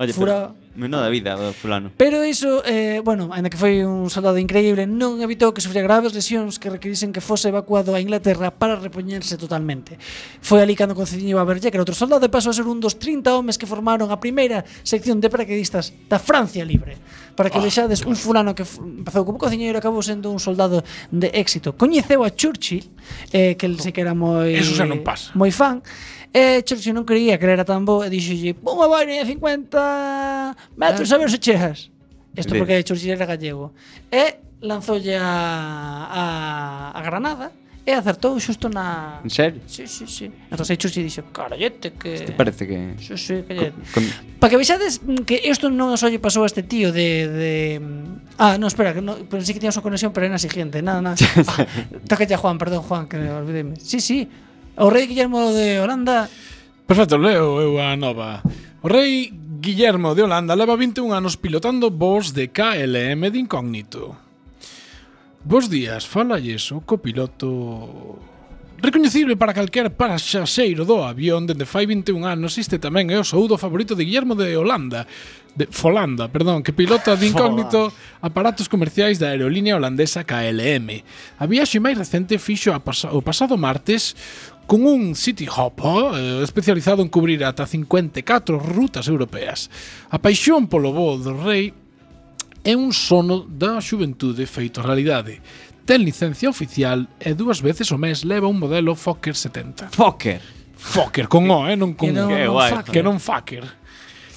Speaker 9: Oye,
Speaker 3: Fura-
Speaker 9: pero, menuda vida, o fulano.
Speaker 3: Pero iso, eh, bueno, ainda que foi un soldado increíble, non evitou que sufría graves lesións que requirisen que fose evacuado a Inglaterra para repoñerse totalmente. Foi ali cando concediño a Berger, que era outro soldado, e pasou a ser un dos 30 homes que formaron a primeira sección de paraquedistas da Francia Libre. Para
Speaker 8: Ah,
Speaker 3: que vexades un fulano que f- empezou como cociñeiro e acabou sendo un soldado de éxito. Coñeceu a Churchill, eh, que el sei que era moi
Speaker 8: Oh, Eso xa non pasa.
Speaker 3: moi fan. E Churchill non creía que era tan bo e dixolle, unha boina de 50 metros a ver se chegas. Isto
Speaker 9: Bien.
Speaker 3: porque Churchill era gallego. E lanzoulle a, a, a Granada e acertou xusto na...
Speaker 9: En serio?
Speaker 3: Sí, sí, sí. Entón aí Churchill dixo, carallete que...
Speaker 9: Te parece que
Speaker 3: Sí, sí, callete.
Speaker 9: con,
Speaker 3: Para que vexades mm, que isto non só lle pasou a este tío de, de... mm, Ah, no, espera, que no, pensei que tiña súa conexión, pero era na siguiente. Nada, nada. ah, toca a Juan, perdón, Juan, que olvideme. Sí, sí. O rei Guillermo de Holanda
Speaker 8: Perfecto, leo eu a nova. O rei Guillermo de Holanda leva 21 anos pilotando voos de KLM de incógnito. Bos días, falalles o copiloto... Recoñecible para calquer paraxaxeiro do avión dende fai 21 anos este tamén é o soudo favorito de Guillermo de Holanda de Folanda, perdón, que pilota de incógnito aparatos comerciais da aerolínea holandesa KLM. A viaxe máis recente fixo a pasa- o pasado martes con un City Hopper eh, especializado en cubrir ata 54 rutas europeas. A paixón polo voo do rei é un sono da xuventude feito realidade. Ten licencia oficial e dúas veces o mes leva un modelo Fokker 70.
Speaker 9: Fokker.
Speaker 8: Fokker con O, eh, non
Speaker 3: Que
Speaker 8: con
Speaker 3: non-
Speaker 9: Qué
Speaker 3: non
Speaker 9: guai.
Speaker 3: fuck.
Speaker 8: que non Fokker.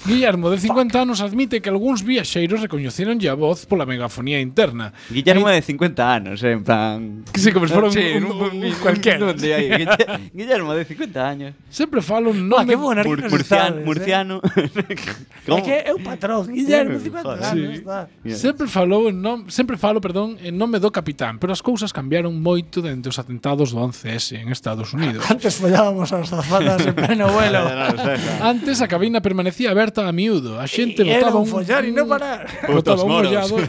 Speaker 8: Guillermo, de 50 anos, admite que algúns viaxeiros recoñeceronlle a voz pola megafonía interna.
Speaker 9: Guillermo é de 50 anos, eh, en plan...
Speaker 8: Que se como se fora un- un- un cualquera.
Speaker 9: un
Speaker 8: *laughs*
Speaker 9: de ahí. Guille- Guillermo de 50 años.
Speaker 8: Sempre falo un
Speaker 3: Ah, qué
Speaker 8: nome...
Speaker 3: bueno,
Speaker 9: Mur-
Speaker 3: Rico
Speaker 9: murciano,
Speaker 3: González,
Speaker 9: murciano.
Speaker 3: É eh? que é un patrón, Guillermo, 50 anos,
Speaker 8: Sí.
Speaker 3: está.
Speaker 8: Sempre falou en nom, sempre falo, perdón, en nome do capitán, pero as cousas cambiaron moito dende os atentados do 11S en Estados
Speaker 3: *laughs*
Speaker 8: Unidos.
Speaker 3: Antes follábamos as zafatas en pleno vuelo.
Speaker 8: Antes a cabina permanecía aberta a miúdo. A
Speaker 3: E
Speaker 8: xente
Speaker 3: era
Speaker 8: botaba
Speaker 3: un follar e non parar.
Speaker 5: Putos
Speaker 8: Botaba un
Speaker 5: moros.
Speaker 8: *laughs* mollado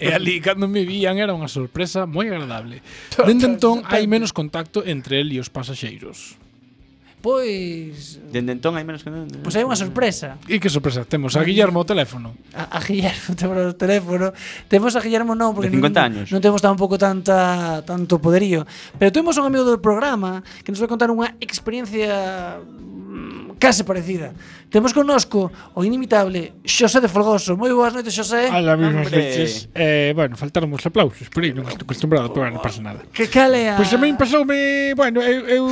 Speaker 8: e ali cando me vían era unha sorpresa moi agradable. Dende entón hai menos contacto entre el e os pasaxeiros.
Speaker 3: Pois
Speaker 9: Dende entón hai menos que non.
Speaker 3: Pois hai unha sorpresa
Speaker 8: E que sorpresa, temos a Guillermo o teléfono.
Speaker 3: a, a Guillermo *laughs* temos o teléfono. Temos a Guillermo non, porque
Speaker 9: De 50
Speaker 3: non,
Speaker 9: años.
Speaker 3: non temos tampouco tanta tanto poderío, pero temos un amigo do programa que nos vai contar unha experiencia mm, case parecida. Temos connosco o inimitable Xosé de Folgoso. Moi boas noites, Xosé.
Speaker 8: A la misma
Speaker 9: Hombre.
Speaker 8: leches. Eh, bueno, faltaron os aplausos, pero aí non estou acostumbrado, pero non pasa nada.
Speaker 3: Que cale a...
Speaker 8: Pois a min pasoume, bueno, eu, eu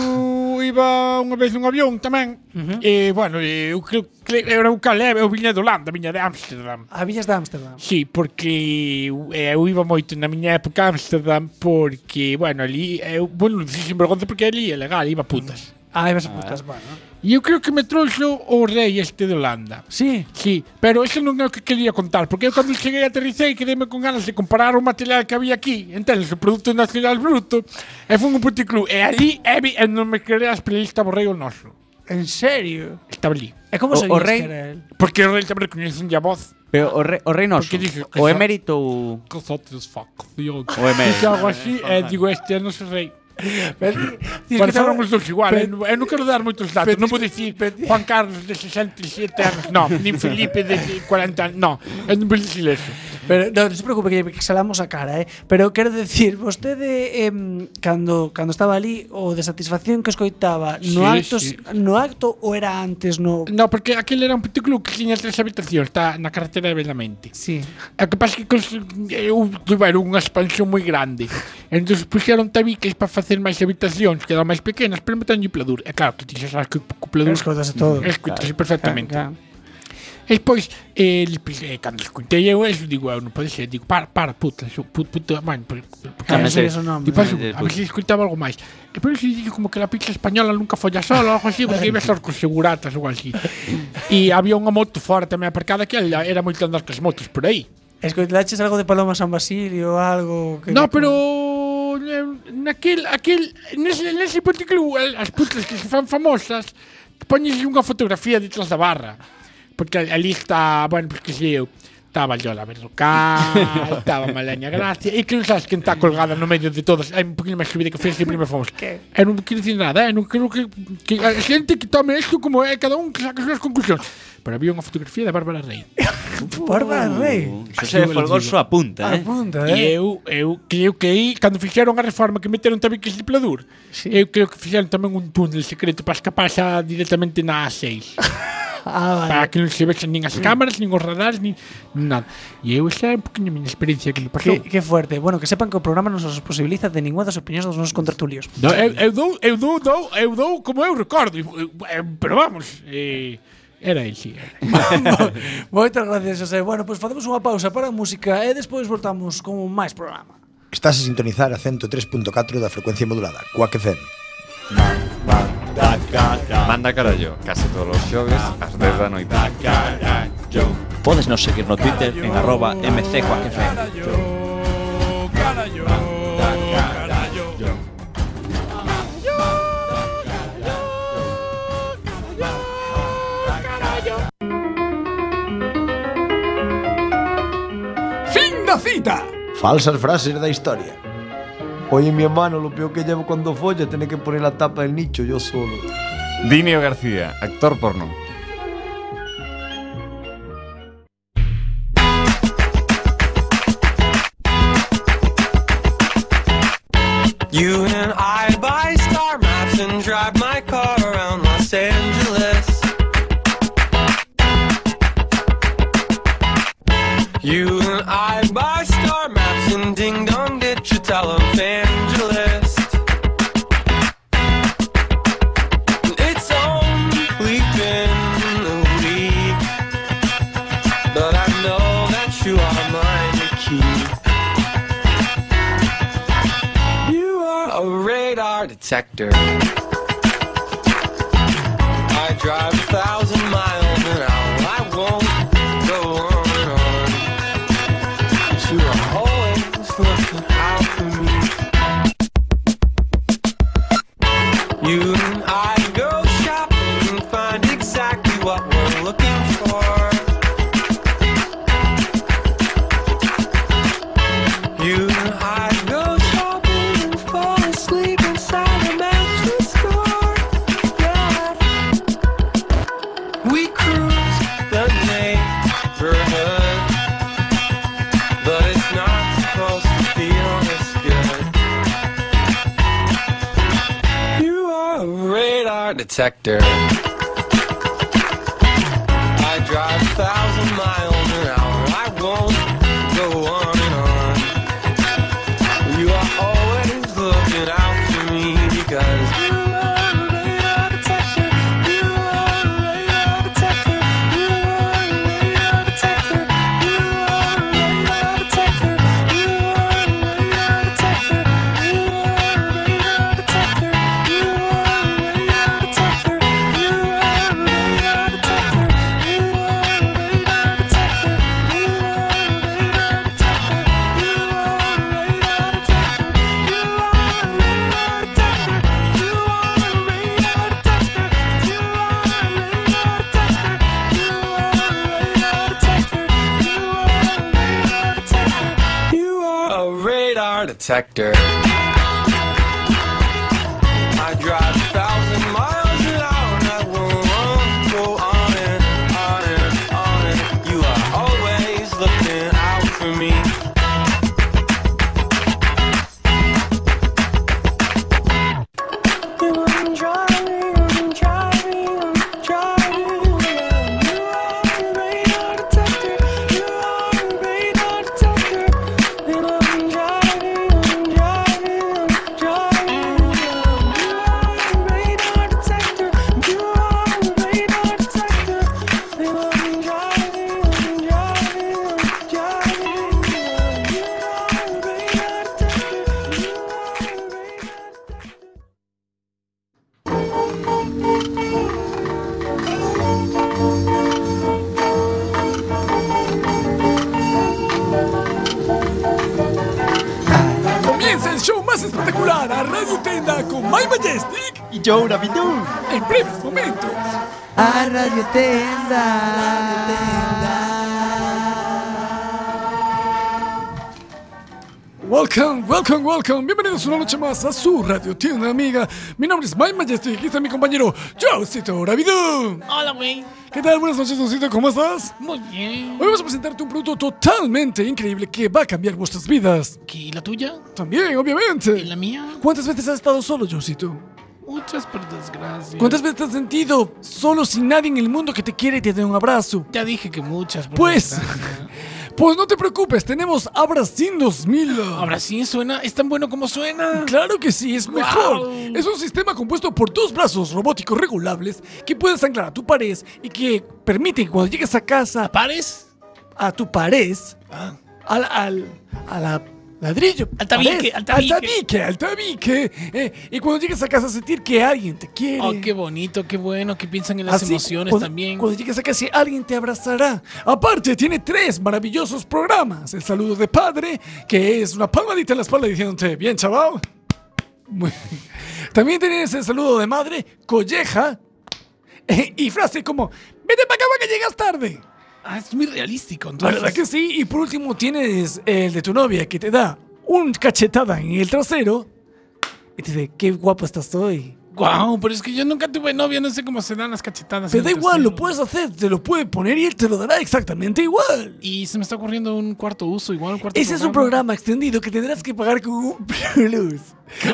Speaker 8: iba unha vez nun avión tamén
Speaker 3: Ujú.
Speaker 8: E, bueno, eu creo que era un calé, eu viña de Holanda, viña de Amsterdam
Speaker 3: A Villas de Ámsterdam.
Speaker 8: Sí, porque eu- eu iba moito na miña época a Amsterdam porque, bueno, ali, eu, bueno, non dixen vergonza porque ali é legal, iba a putas.
Speaker 3: Ah, ibas a putas, bueno.
Speaker 8: E eu creo que me trouxo o rei este de Holanda.
Speaker 3: Sí.
Speaker 8: Sí, pero ese non é o que quería contar, porque eu cando cheguei a aterricei quedei-me con ganas de comparar o material que había aquí, entendes, o Producto Nacional Bruto, e fun un puticlub, e ali e, vi, e non me creas, pero ali estaba o rei o noso.
Speaker 3: En serio.
Speaker 8: Estaba ali.
Speaker 3: E como
Speaker 9: O-
Speaker 3: sabías
Speaker 9: o rei-
Speaker 3: que era él?
Speaker 8: Porque o rei tamén recoñecen a voz.
Speaker 9: Pero o, re, o rei noso,
Speaker 8: Porque dixo que
Speaker 9: o
Speaker 8: xa-
Speaker 9: emérito ou
Speaker 8: Que satisfacción.
Speaker 9: o emérito.
Speaker 8: Dixo algo así, e digo, este é o noso rei.
Speaker 3: Dices que
Speaker 8: Pareceron
Speaker 3: estaba-
Speaker 8: os dous igual,
Speaker 3: pe-
Speaker 8: eu, non- eu non quero dar moitos datos, non vou dicir Juan Carlos de 67 anos, non, nin Felipe de 40 anos, non, eu non vou dicir eso.
Speaker 3: Pero no, non se preocupe que que salamos a cara, eh. Pero quero decir, vostede em, cando cando estaba ali o de satisfacción que escoitaba no
Speaker 8: Sí,
Speaker 3: acto
Speaker 8: sí.
Speaker 3: no acto ou era antes no
Speaker 8: No, porque aquel era un puticlub que tiña tres habitacións, está na carretera de Belamente.
Speaker 3: Sí.
Speaker 8: O que pasa é que cons- eu tiveron unha expansión moi grande. Entón puxeron tabiques para facer máis habitacións, que eran máis pequenas, pero metan un pladur. E claro, que ti xa sabes que o pladur
Speaker 3: Escoitase todo.
Speaker 8: escutase perfectamente. E pois, eh, li- pois, eh, cando escutei eu eso, digo, eu non pode ser, digo, para, para, puta, so, puta, puta, man, por, por, por,
Speaker 3: Claro,
Speaker 9: Tamén
Speaker 3: sí,
Speaker 9: sei.
Speaker 3: ese nome.
Speaker 8: E paso,
Speaker 9: Despois.
Speaker 8: a ver se escoitaba algo Eh, máis. E por iso dixo como que la pizza española nunca folla sola ou algo así, porque iba a estar cos seguratas ou algo así. E había unha moto fora tamén aparcada que ela- era moito andar cas motos por aí.
Speaker 3: Escoitaches algo de Paloma San Basilio, algo que
Speaker 8: No, pero eh, naquel, aquel, nese, nese partículo, as eh, putas que se fan famosas, poñes unha fotografía detrás da barra. Porque al- ali está, bueno, pues que sei eu, estaba Lola Berrocal, estaba Malaña Gracia, e que non sabes quen está colgada no medio de todas. Hai un poquinho máis subida que foi sempre máis famosa. E non quero dicir nada, eh? non quero que, que a xente que tome isto como é cada un que saca as súas conclusións. Pero había unha fotografía da Bárbara Rey.
Speaker 3: Bárbara Rey.
Speaker 9: Xosé de Folgoso apunta, eh?
Speaker 3: Apunta,
Speaker 8: E
Speaker 3: eh.
Speaker 8: eu, eu creo que aí, cando fixeron a reforma que meteron tamén que pladur,
Speaker 3: Sí.
Speaker 8: eu creo que fixeron tamén un túnel secreto para escapar xa directamente na A6.
Speaker 3: Ah, vale.
Speaker 8: para que non se vexan nin as cámaras, nin os radares, nin nin nada. E eu xa é un poquinho a miña experiencia que me pasou.
Speaker 3: Qué, qué fuerte. Bueno, que sepan que o programa non os posibiliza de ninguna das opinións dos nosos contratulios.
Speaker 8: No, eu, eu dou, eu dou, dou, eu dou como eu recordo. Eu- eu- Pero vamos, eh, era el, sí. era.
Speaker 3: *laughs* Moitas gracias, José. Bueno, pois pues facemos unha pausa para a música e despois voltamos con máis programa.
Speaker 7: Estás a sintonizar a 103.4 da frecuencia modulada, Quack FM.
Speaker 5: Manda carallo, case todos os xoves ás 10 da noite.
Speaker 9: Podes nos seguir no Twitter en arroba mccuacfm.
Speaker 6: Fin da cita.
Speaker 7: Falsas frases da historia. Oye, mi hermano, lo peor que llevo cuando folla tiene que poner la tapa del nicho yo solo.
Speaker 5: Dinio García, actor porno.
Speaker 1: You and I buy star maps and drive my car around Los Angeles. You and I buy star maps and ding dong ditch your televangelist. It's only been a week, but I know that you are mine to keep. You are a radar detector. I drive a thousand miles an hour. I won't go on and on. But you are always looking out for me. You and I go shopping and find exactly what we're looking for. You and I go shopping and fall asleep inside a mattress store. Yeah. detector. I drive a thousand miles an hour. I won't go on and on. You are always looking out for me because you are a radar detector. You are a radar detector. You are a radar detector. You are a radar detector. You are a radar detector. You are a radar detector. You are a radar detector. You are a radar detector. You are a radar detector. You are a radar detector. You are a radar detector. You are a radar detector. You are a radar detector. You are a radar detector. You are a radar detector. You are a radar detector. You are a radar detector. I drive a thousand miles an hour and I will go on and on and on and you are always looking out for me. You are driving, I'm driving, I'm driving. You are a radar detector. You are a radar detector. You are driving, I'm driving, I'm driving. You are a radar detector. You are a radar detector. You are driving, I'm driving, I'm driving. You are a radar detector. You are a radar detector.
Speaker 3: Comienza el show más espectacular a Radio Tenda con My Majestic
Speaker 9: Y yo, Davidú.
Speaker 3: en breves momentos.
Speaker 10: A Radio Tenda.
Speaker 3: Welcome, welcome, welcome. Bienvenidos una noche más a su radio tienda amiga. Mi nombre es My Majestic y está mi compañero Josito Ravidú.
Speaker 8: Hola, güey.
Speaker 3: ¿Qué tal? Buenas noches, Josito. ¿Cómo estás?
Speaker 8: Muy bien.
Speaker 3: Hoy vamos a presentarte un producto totalmente increíble que va a cambiar vuestras vidas.
Speaker 8: ¿Y la tuya?
Speaker 3: También,
Speaker 8: ¿Y la
Speaker 3: obviamente.
Speaker 8: mía?
Speaker 3: ¿Cuántas veces has estado solo, Josito?
Speaker 8: Muchas por desgracia.
Speaker 3: ¿Cuántas veces te has sentido solo sin nadie en el mundo que te quiere y te dé un abrazo?
Speaker 8: Ya dije que muchas por
Speaker 3: Pues.
Speaker 8: desgracia.
Speaker 3: Pues no te preocupes, tenemos Abracín 2000.
Speaker 8: Ahora sí suena. Es tan bueno como suena.
Speaker 3: Claro que sí, es mejor.
Speaker 8: Guau.
Speaker 3: Es un sistema compuesto por dos brazos robóticos regulables que puedes anclar a tu pared y que permite que cuando llegues a casa,
Speaker 8: ¿Pares?
Speaker 3: a tu pared, al, al, a la ladrillo,
Speaker 8: Ah. Al tabique,
Speaker 3: pared,
Speaker 8: al
Speaker 3: al
Speaker 8: tabique.
Speaker 3: tabique, al tabique, eh, y cuando llegues a casa sentir que alguien te quiere.
Speaker 8: Oh, qué bonito, qué bueno, que piensan en las
Speaker 3: Así,
Speaker 8: emociones
Speaker 3: cuando-
Speaker 8: también.
Speaker 3: Cuando llegues a casa, alguien te abrazará. Aparte, tiene tres maravillosos programas. El saludo de padre, que es una palmadita en la espalda diciéndote, bien, chaval. Muy bien. También tienes el saludo de madre, colleja, eh, y frase como, vete para acá pa' que llegas tarde.
Speaker 8: Ah, es muy realístico, entonces.
Speaker 3: ¿Verdad que sí? Y por último tienes el de tu novia, que te da un cachetada en el trasero y te dice, qué guapo estás hoy.
Speaker 8: Guau, pero es que yo nunca tuve novia, no sé cómo se dan las cachetadas.
Speaker 3: Te
Speaker 8: en
Speaker 3: da
Speaker 8: el
Speaker 3: igual, lo
Speaker 8: trasero.
Speaker 3: puedes hacer, te lo puede poner y él te lo dará exactamente igual.
Speaker 8: Y se me está ocurriendo un cuarto uso, igual un cuarto
Speaker 3: Ese es un programa extendido que tendrás que pagar con un *laughs* plus.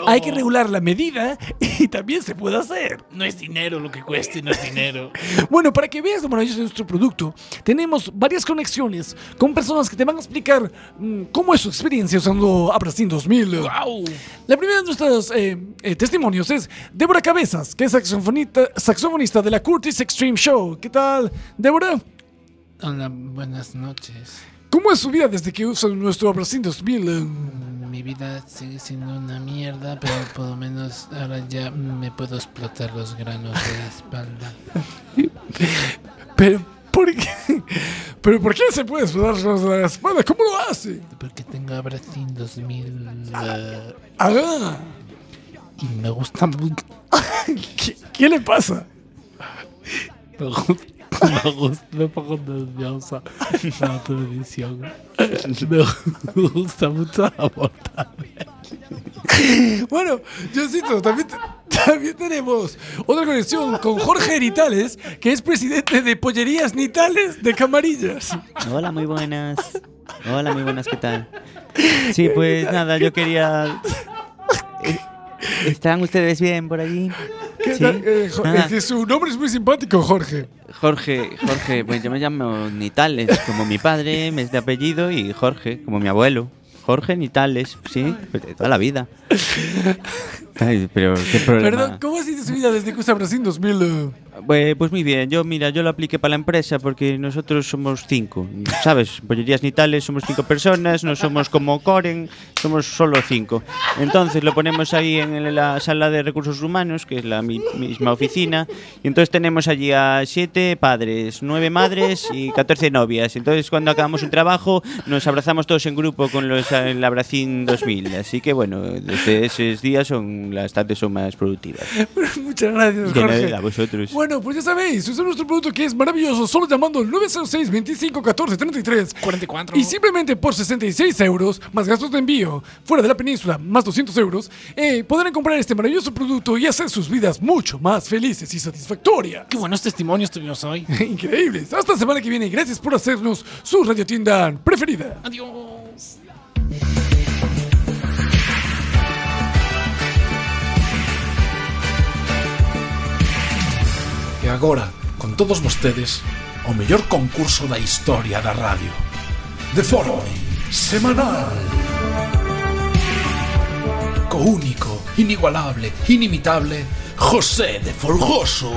Speaker 3: Hay que regular la medida y también se puede hacer.
Speaker 8: Oh. No es dinero lo que cueste, no es dinero.
Speaker 3: *laughs* Bueno, para que veas lo maravilloso de nuestro producto, tenemos varias conexiones con personas que te van a explicar mm, cómo es su experiencia usando Abracin 2000.
Speaker 8: Guau.
Speaker 3: La primera de nuestros eh, eh, testimonios es Débora Cabezas, que es saxofonita- saxofonista de la Curtis Extreme Show. ¿Qué tal, Débora?
Speaker 8: Hola, buenas noches.
Speaker 3: ¿Cómo es su vida desde que usan nuestro Abracin 2000? eh?
Speaker 8: Mi vida sigue siendo una mierda, pero por lo menos ahora ya me puedo explotar los granos de la espalda.
Speaker 3: *laughs* Pero, ¿por qué? ¿Pero por qué se puede sudar los de la espalda? ¿Cómo lo hace?
Speaker 8: Porque tengo Abracín 2000 eh,
Speaker 3: Ah,
Speaker 8: y me gusta mucho.
Speaker 3: *laughs* ¿qué, qué le pasa?
Speaker 8: Me gusta, me gusta, me pongo nerviosa la televisión. Me gusta mucho la bota.
Speaker 3: Bueno, Josito, también, te- también tenemos otra conexión con Jorge Nitales, que es presidente de Pollerías Nitales de Camarillas.
Speaker 9: Hola, muy buenas. Hola, muy buenas, ¿qué tal? Sí, pues nada, yo quería... ¿Están ustedes eh, bien por allí?
Speaker 11: ¿Qué
Speaker 9: Sí.
Speaker 11: tal? Eh, jo-
Speaker 9: Ah.
Speaker 11: es que su nombre es muy simpático, Jorge.
Speaker 9: Jorge, Jorge, pues yo me llamo Nitales, como mi padre, me es de apellido, y Jorge, como mi abuelo. Jorge Nitales, sí, pues de toda la vida. Ay, pero qué problema.
Speaker 11: Perdón, ¿cómo ha sido su vida desde que usa Brasil 2000? eh?
Speaker 9: Bue- Pues muy bien, yo mira, yo lo apliqué para la empresa porque nosotros somos cinco, ¿sabes? Pollerías Nitales, somos cinco personas, no somos como Coren, somos solo cinco. Entonces lo ponemos ahí en la sala de recursos humanos, que es la mi- misma oficina, y entonces tenemos allí a siete padres, nueve madres y 14 novias. Entonces cuando acabamos un trabajo nos abrazamos todos en grupo con los eh, el Abracín 2000. Así que bueno, desde esos días son, las tardes son más productivas.
Speaker 11: *laughs* Muchas gracias,
Speaker 9: De nada,
Speaker 11: Jorge.
Speaker 9: a vosotros.
Speaker 11: Bueno, pues ya sabéis, usa nuestro producto que es maravilloso, solo llamando al 906 25 14 33 44 y simplemente por 66 euros, más gastos de envío fuera de la península, más 200 euros, eh, podrán comprar este maravilloso producto y hacer sus vidas mucho más felices y satisfactorias.
Speaker 2: Qué buenos testimonios
Speaker 11: *laughs*
Speaker 2: tuvimos hoy.
Speaker 11: Increíbles. Hasta la semana que viene y gracias por hacernos su radiotienda preferida.
Speaker 2: Adiós. E agora, con todos vostedes, o mellor concurso da historia da radio. De forma semanal. Co único, inigualable, inimitable, José de Folgoso.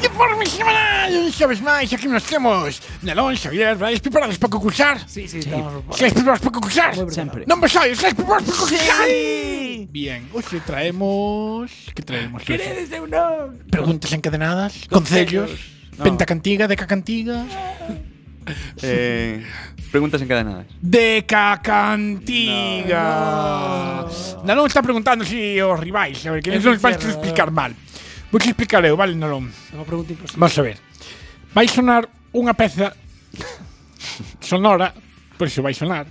Speaker 8: De forma semanal, un sabes máis, aquí nos temos Nelón, Xavier, vais preparados para concursar? Sí, sí,
Speaker 2: estamos-
Speaker 8: Estáis preparados para concursar?
Speaker 2: Sempre.
Speaker 8: Non vos sois, estáis preparados para concursar?
Speaker 2: Bien, hoxe traemos... Que traemos? hoxe?
Speaker 8: non?
Speaker 2: Preguntas encadenadas, concellos,
Speaker 9: No.
Speaker 2: pentacantiga, decacantiga...
Speaker 9: Eh, preguntas encadenadas.
Speaker 8: Decacantiga. Nalón está preguntando si os rivais, a ver, que
Speaker 2: É
Speaker 8: non vais
Speaker 2: sincero,
Speaker 8: explicar mal. Vou te explicar eu, vale, Nalón?
Speaker 2: Unha pregunta imposible.
Speaker 8: Vamos a ver. Vai sonar unha peza sonora, por iso vai sonar,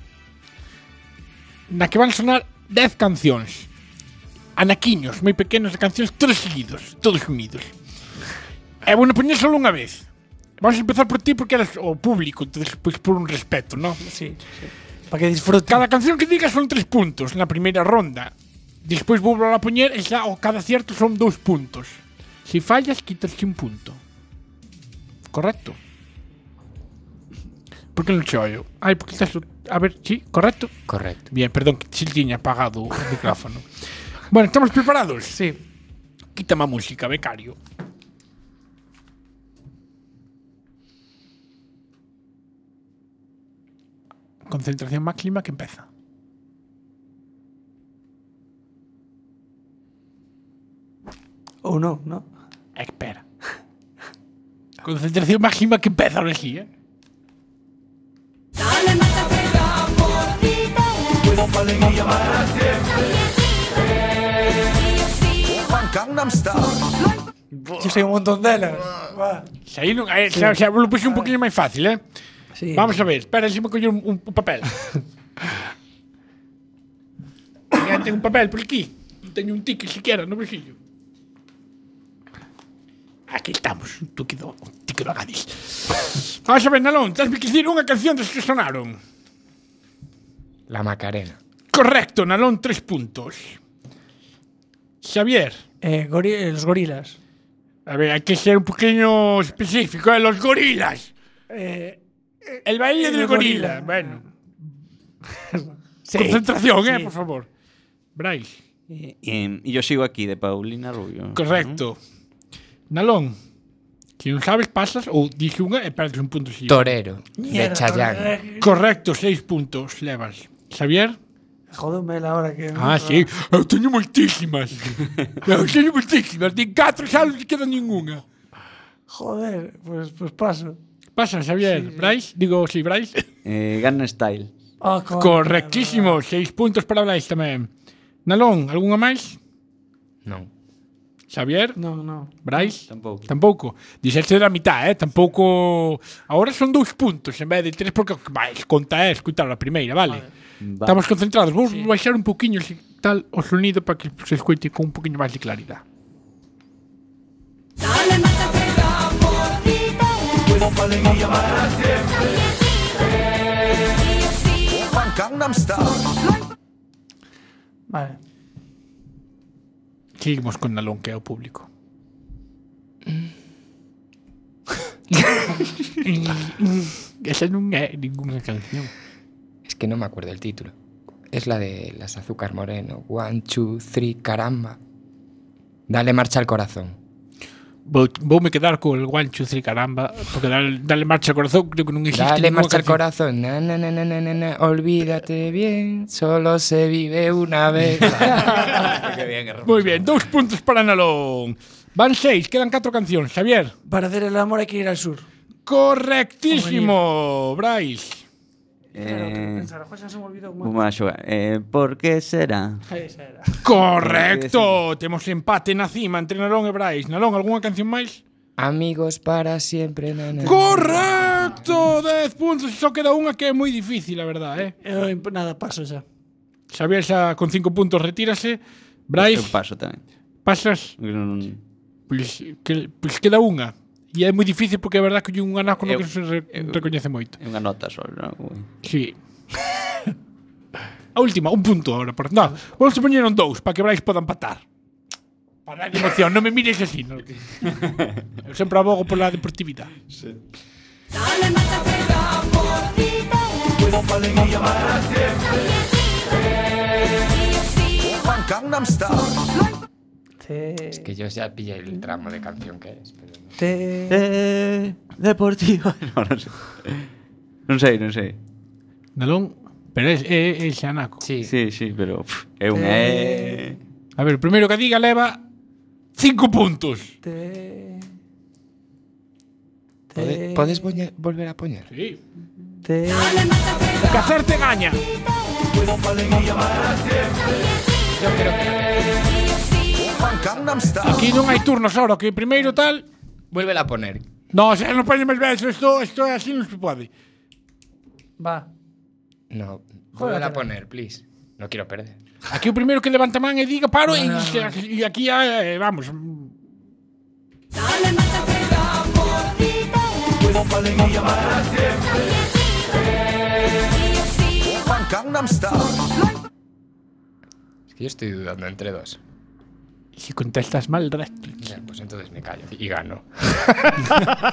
Speaker 8: na que van sonar 10 cancións. Anaquiños, moi pequenos de cancións, todos seguidos, todos unidos. E vou bueno, poñer solo unha vez. Vamos a empezar por ti porque eres o público, entonces, pois por un respeto, ¿no? Sí, sí. Para que disfrutes. Cada canción que digas son tres puntos na primeira ronda. Despois vou volver a poñer e xa o cada cierto son dous puntos. Si fallas, quitasche un punto. Correcto. Por que non che ollo? Ai, porque estás... o- A ver, sí, correcto?
Speaker 2: Correcto.
Speaker 8: Bien, perdón, que se tiña apagado o micrófono. bueno, estamos preparados? Sí. Quítame a música, becario. Concentración máxima que empieza.
Speaker 3: Ou non, non?
Speaker 8: Espera. Concentración máxima que empieza ahora sí, ¿eh?
Speaker 11: Yo soy un montón de elas.
Speaker 8: Se aí non, eh, xa, xa, lo puse un poquinho máis fácil, eh?
Speaker 3: Sí.
Speaker 8: Vamos a ver, espera, se me coño un, un, un papel. Mira, tengo un papel por aquí. Non teño un ticket siquiera no bolsillo. Aquí estamos. Tú quedo, ti quedo agadis. Vamos a ver, Nalón, tens que dicir unha canción dos que sonaron.
Speaker 12: La Macarena.
Speaker 8: Correcto, Nalón, tres puntos. Xavier. Eh, los gorilas. A ver, hay que ser un poquillo específico, ¿eh? Los gorilas. Eh, el baile del gorila. Bueno. Concentración, ¿eh? Por favor. Bryce.
Speaker 9: Eh, y yo sigo aquí, de Paulina Rubio.
Speaker 8: Correcto. Nalón. Si no sabes, pasas o dices una e perdes un punto. Si
Speaker 12: Torero, de Mierda, Chayanne.
Speaker 8: Chayanne. Correcto, seis puntos levas. Xavier?
Speaker 3: Jodome la hora que...
Speaker 8: Ah, sí. Eu teño *laughs* moitísimas. Eu teño moitísimas. Din 4 xa non te queda ninguna.
Speaker 3: Joder, pues, pues paso.
Speaker 8: Pasa, Xavier. Brais? Digo, si, Brais?
Speaker 9: Eh, Gangnam Style.
Speaker 3: Ah, coño,
Speaker 8: Correctísimo. Seis puntos para Brais tamén. Nalón, algunha máis?
Speaker 12: Non.
Speaker 8: Xavier?
Speaker 3: Non, non.
Speaker 8: Brais?
Speaker 9: Tampouco.
Speaker 8: Tampouco. Dixeste da mitad, eh? Tampouco... Ahora son dous puntos en vez de tres porque vais, conta é escutar a primeira, vale?
Speaker 9: Vale.
Speaker 8: Estamos concentrados. Vou baixar un poquinho se tal o sonido para que se escoite con un poquinho máis de claridade.
Speaker 13: Y
Speaker 1: Gangnam Style.
Speaker 3: Vale.
Speaker 8: Seguimos con el lonqueo público. Esa no es ninguna canción.
Speaker 13: Es que no me acuerdo el título. Es la de las azúcar moreno. One, two, three, caramba. Dale marcha al corazón. *laughs*
Speaker 8: Voy, voy a quedar con el one, two, three, caramba. Porque dale, dale marcha al corazón, creo que no existe.
Speaker 13: Dale
Speaker 8: ninguna
Speaker 13: marcha al
Speaker 8: canción.
Speaker 13: corazón. Na, na, na, na, na, na, na. Olvídate bien. Solo se vive una vez.
Speaker 8: Muy bien, dos puntos para Nalón. Van seis, quedan cuatro canciones. Xavier.
Speaker 3: Para hacer el amor hay que ir al sur.
Speaker 8: Correctísimo, Bryce.
Speaker 9: Eh,
Speaker 3: se me olvidou
Speaker 9: vou má xogar. Eh, por que será?
Speaker 8: Correcto. Tenemos empate na cima entre Nalón y Bryce. Nalón, ¿alguna canción más?
Speaker 13: Amigos para siempre. na, na, na.
Speaker 8: Correcto. 10 puntos. Só queda una que es muy difícil, la verdad. Eh.
Speaker 3: nada, paso ya.
Speaker 8: Xavier xa con cinco puntos retírase. Bryce,
Speaker 9: Eu paso tamén.
Speaker 8: pasas.
Speaker 9: Non-
Speaker 8: Pois, que, pois queda unha. E é moi difícil porque é verdad que un anaco no
Speaker 9: Eu-
Speaker 8: que non se re, recoñece moito.
Speaker 9: É unha nota só, non? Ui.
Speaker 8: Sí. *laughs* A última, un punto ahora. Por... No, vamos a poñer un dous para que Brais poda empatar. Para dar emoción, non me mires así.
Speaker 9: *laughs*
Speaker 8: No. Eu sempre abogo pola deportividade. Sí.
Speaker 1: Juan Gangnam Style.
Speaker 13: Es que yo ya pillé el tramo de canción que es. pero no.
Speaker 9: Eh, deportivo. *laughs* No, non sei. Non sei, non sei.
Speaker 8: Nalón, pero é, é, é xanaco.
Speaker 13: Sí.
Speaker 9: Sí, sí, pero pff, é un eh.
Speaker 8: A ver, o primeiro que diga leva cinco puntos.
Speaker 13: Pode- Podes poñer- volver a poñer?
Speaker 8: Sí.
Speaker 3: Te...
Speaker 8: Que hacerte gaña.
Speaker 1: Juan Gangnam Style.
Speaker 8: Aquí non hai turnos ahora, que primeiro tal...
Speaker 13: Vuelve a poner.
Speaker 8: No, xa non poñe máis veces, isto, isto é así non se pode.
Speaker 3: Va.
Speaker 13: No. Vuelve
Speaker 8: Juégatela.
Speaker 13: a poner, please. No quiero perder.
Speaker 8: Aquí o primeiro que levanta man e diga paro e,
Speaker 13: No, no, no.
Speaker 8: e aquí eh, vamos.
Speaker 1: Juan Gangnam Style.
Speaker 13: Es que yo estoy dudando entre dos.
Speaker 8: Si contestas mal, resto.
Speaker 13: Ya, pues entonces me callo y gano.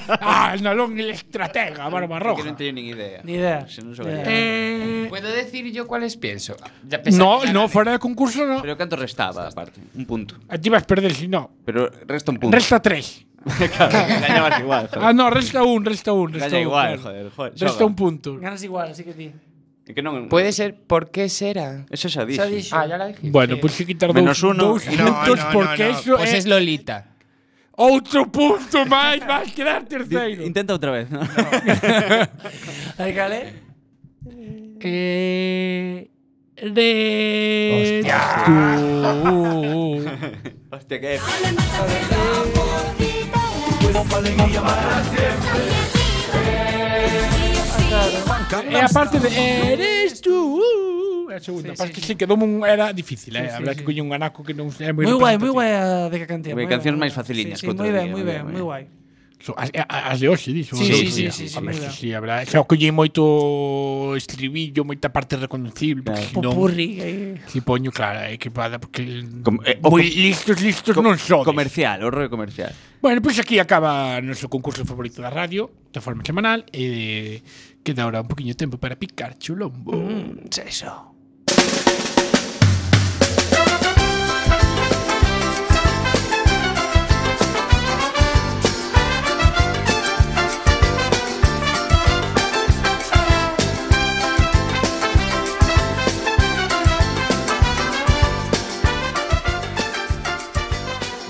Speaker 8: ah, el nalón el estratega, barba
Speaker 9: Que non
Speaker 8: roja.
Speaker 9: teño nin idea.
Speaker 3: Ni idea.
Speaker 9: Se non sobería.
Speaker 8: Eh,
Speaker 13: ¿Puedo decir yo cuáles pienso? Ya pensaba
Speaker 8: no,
Speaker 13: que ya
Speaker 8: no,
Speaker 13: gané.
Speaker 8: fuera de concurso no.
Speaker 9: Pero canto restaba, aparte? Un punto.
Speaker 8: A ti vas a perder si no.
Speaker 9: Pero resta un punto.
Speaker 8: Resta tres.
Speaker 9: *laughs* claro, gañabas igual, joder.
Speaker 8: Ah, no, resta un, resta un, resta
Speaker 9: Gaña
Speaker 8: un.
Speaker 9: igual,
Speaker 8: claro.
Speaker 9: joder, joder.
Speaker 8: Resta un punto.
Speaker 3: Ganas igual, así que ti.
Speaker 9: Que non,
Speaker 13: Puede ser, ¿por qué será?
Speaker 9: Eso xa
Speaker 3: Xa
Speaker 9: dixo.
Speaker 3: dixo.
Speaker 13: Ah, ya la dije.
Speaker 8: Bueno,
Speaker 13: Sí.
Speaker 8: pues sí quitar
Speaker 9: Menos
Speaker 8: dos,
Speaker 9: uno
Speaker 8: dos
Speaker 9: y
Speaker 13: No,
Speaker 8: puntos
Speaker 13: no, no,
Speaker 8: porque
Speaker 13: no.
Speaker 8: eso
Speaker 13: Pues
Speaker 8: es,
Speaker 13: es Lolita.
Speaker 8: otro punto más, *laughs* vas a quedar tercero.
Speaker 9: Intenta outra vez, non?
Speaker 3: Ahí cale.
Speaker 8: Eh, de...
Speaker 9: *laughs* Hostia, que épico.
Speaker 8: E a parte de Eres tú A segunda, sí, parte sí, que sí, quedou un, era difícil, eh?
Speaker 3: Sí, sí,
Speaker 8: Sí, Habrá sí, que
Speaker 3: sí.
Speaker 8: coñer un anaco que non é moi
Speaker 3: Muy guay, muy
Speaker 8: representativo.
Speaker 3: guay a de que cantía.
Speaker 9: Porque
Speaker 3: muy guai.
Speaker 9: cancións máis faciliñas
Speaker 3: Sí, sí,
Speaker 9: que outro
Speaker 3: muy ben,
Speaker 9: día,
Speaker 3: muy
Speaker 9: moi
Speaker 3: ben,
Speaker 9: ben.
Speaker 3: muy guay.
Speaker 8: So, as, as de hoxe, dixo.
Speaker 3: Sí,
Speaker 8: o
Speaker 3: sí,
Speaker 8: outro
Speaker 3: sí,
Speaker 8: día.
Speaker 3: sí, sí,
Speaker 8: Home,
Speaker 3: verdad.
Speaker 8: sí, habrá, xa collí moito estribillo, moita parte reconocible, porque si non,
Speaker 3: Popurri. aí.
Speaker 8: si poño, claro, é que para, porque
Speaker 9: Com- eh, o
Speaker 8: moi
Speaker 9: com-
Speaker 8: listos, listos non sodes.
Speaker 9: Comercial, o rollo comercial.
Speaker 8: Bueno, pois pues aquí acaba noso concurso favorito da radio, de forma semanal, e queda ahora un poquinho de tempo para picar chulombo.
Speaker 3: Mm, xa iso.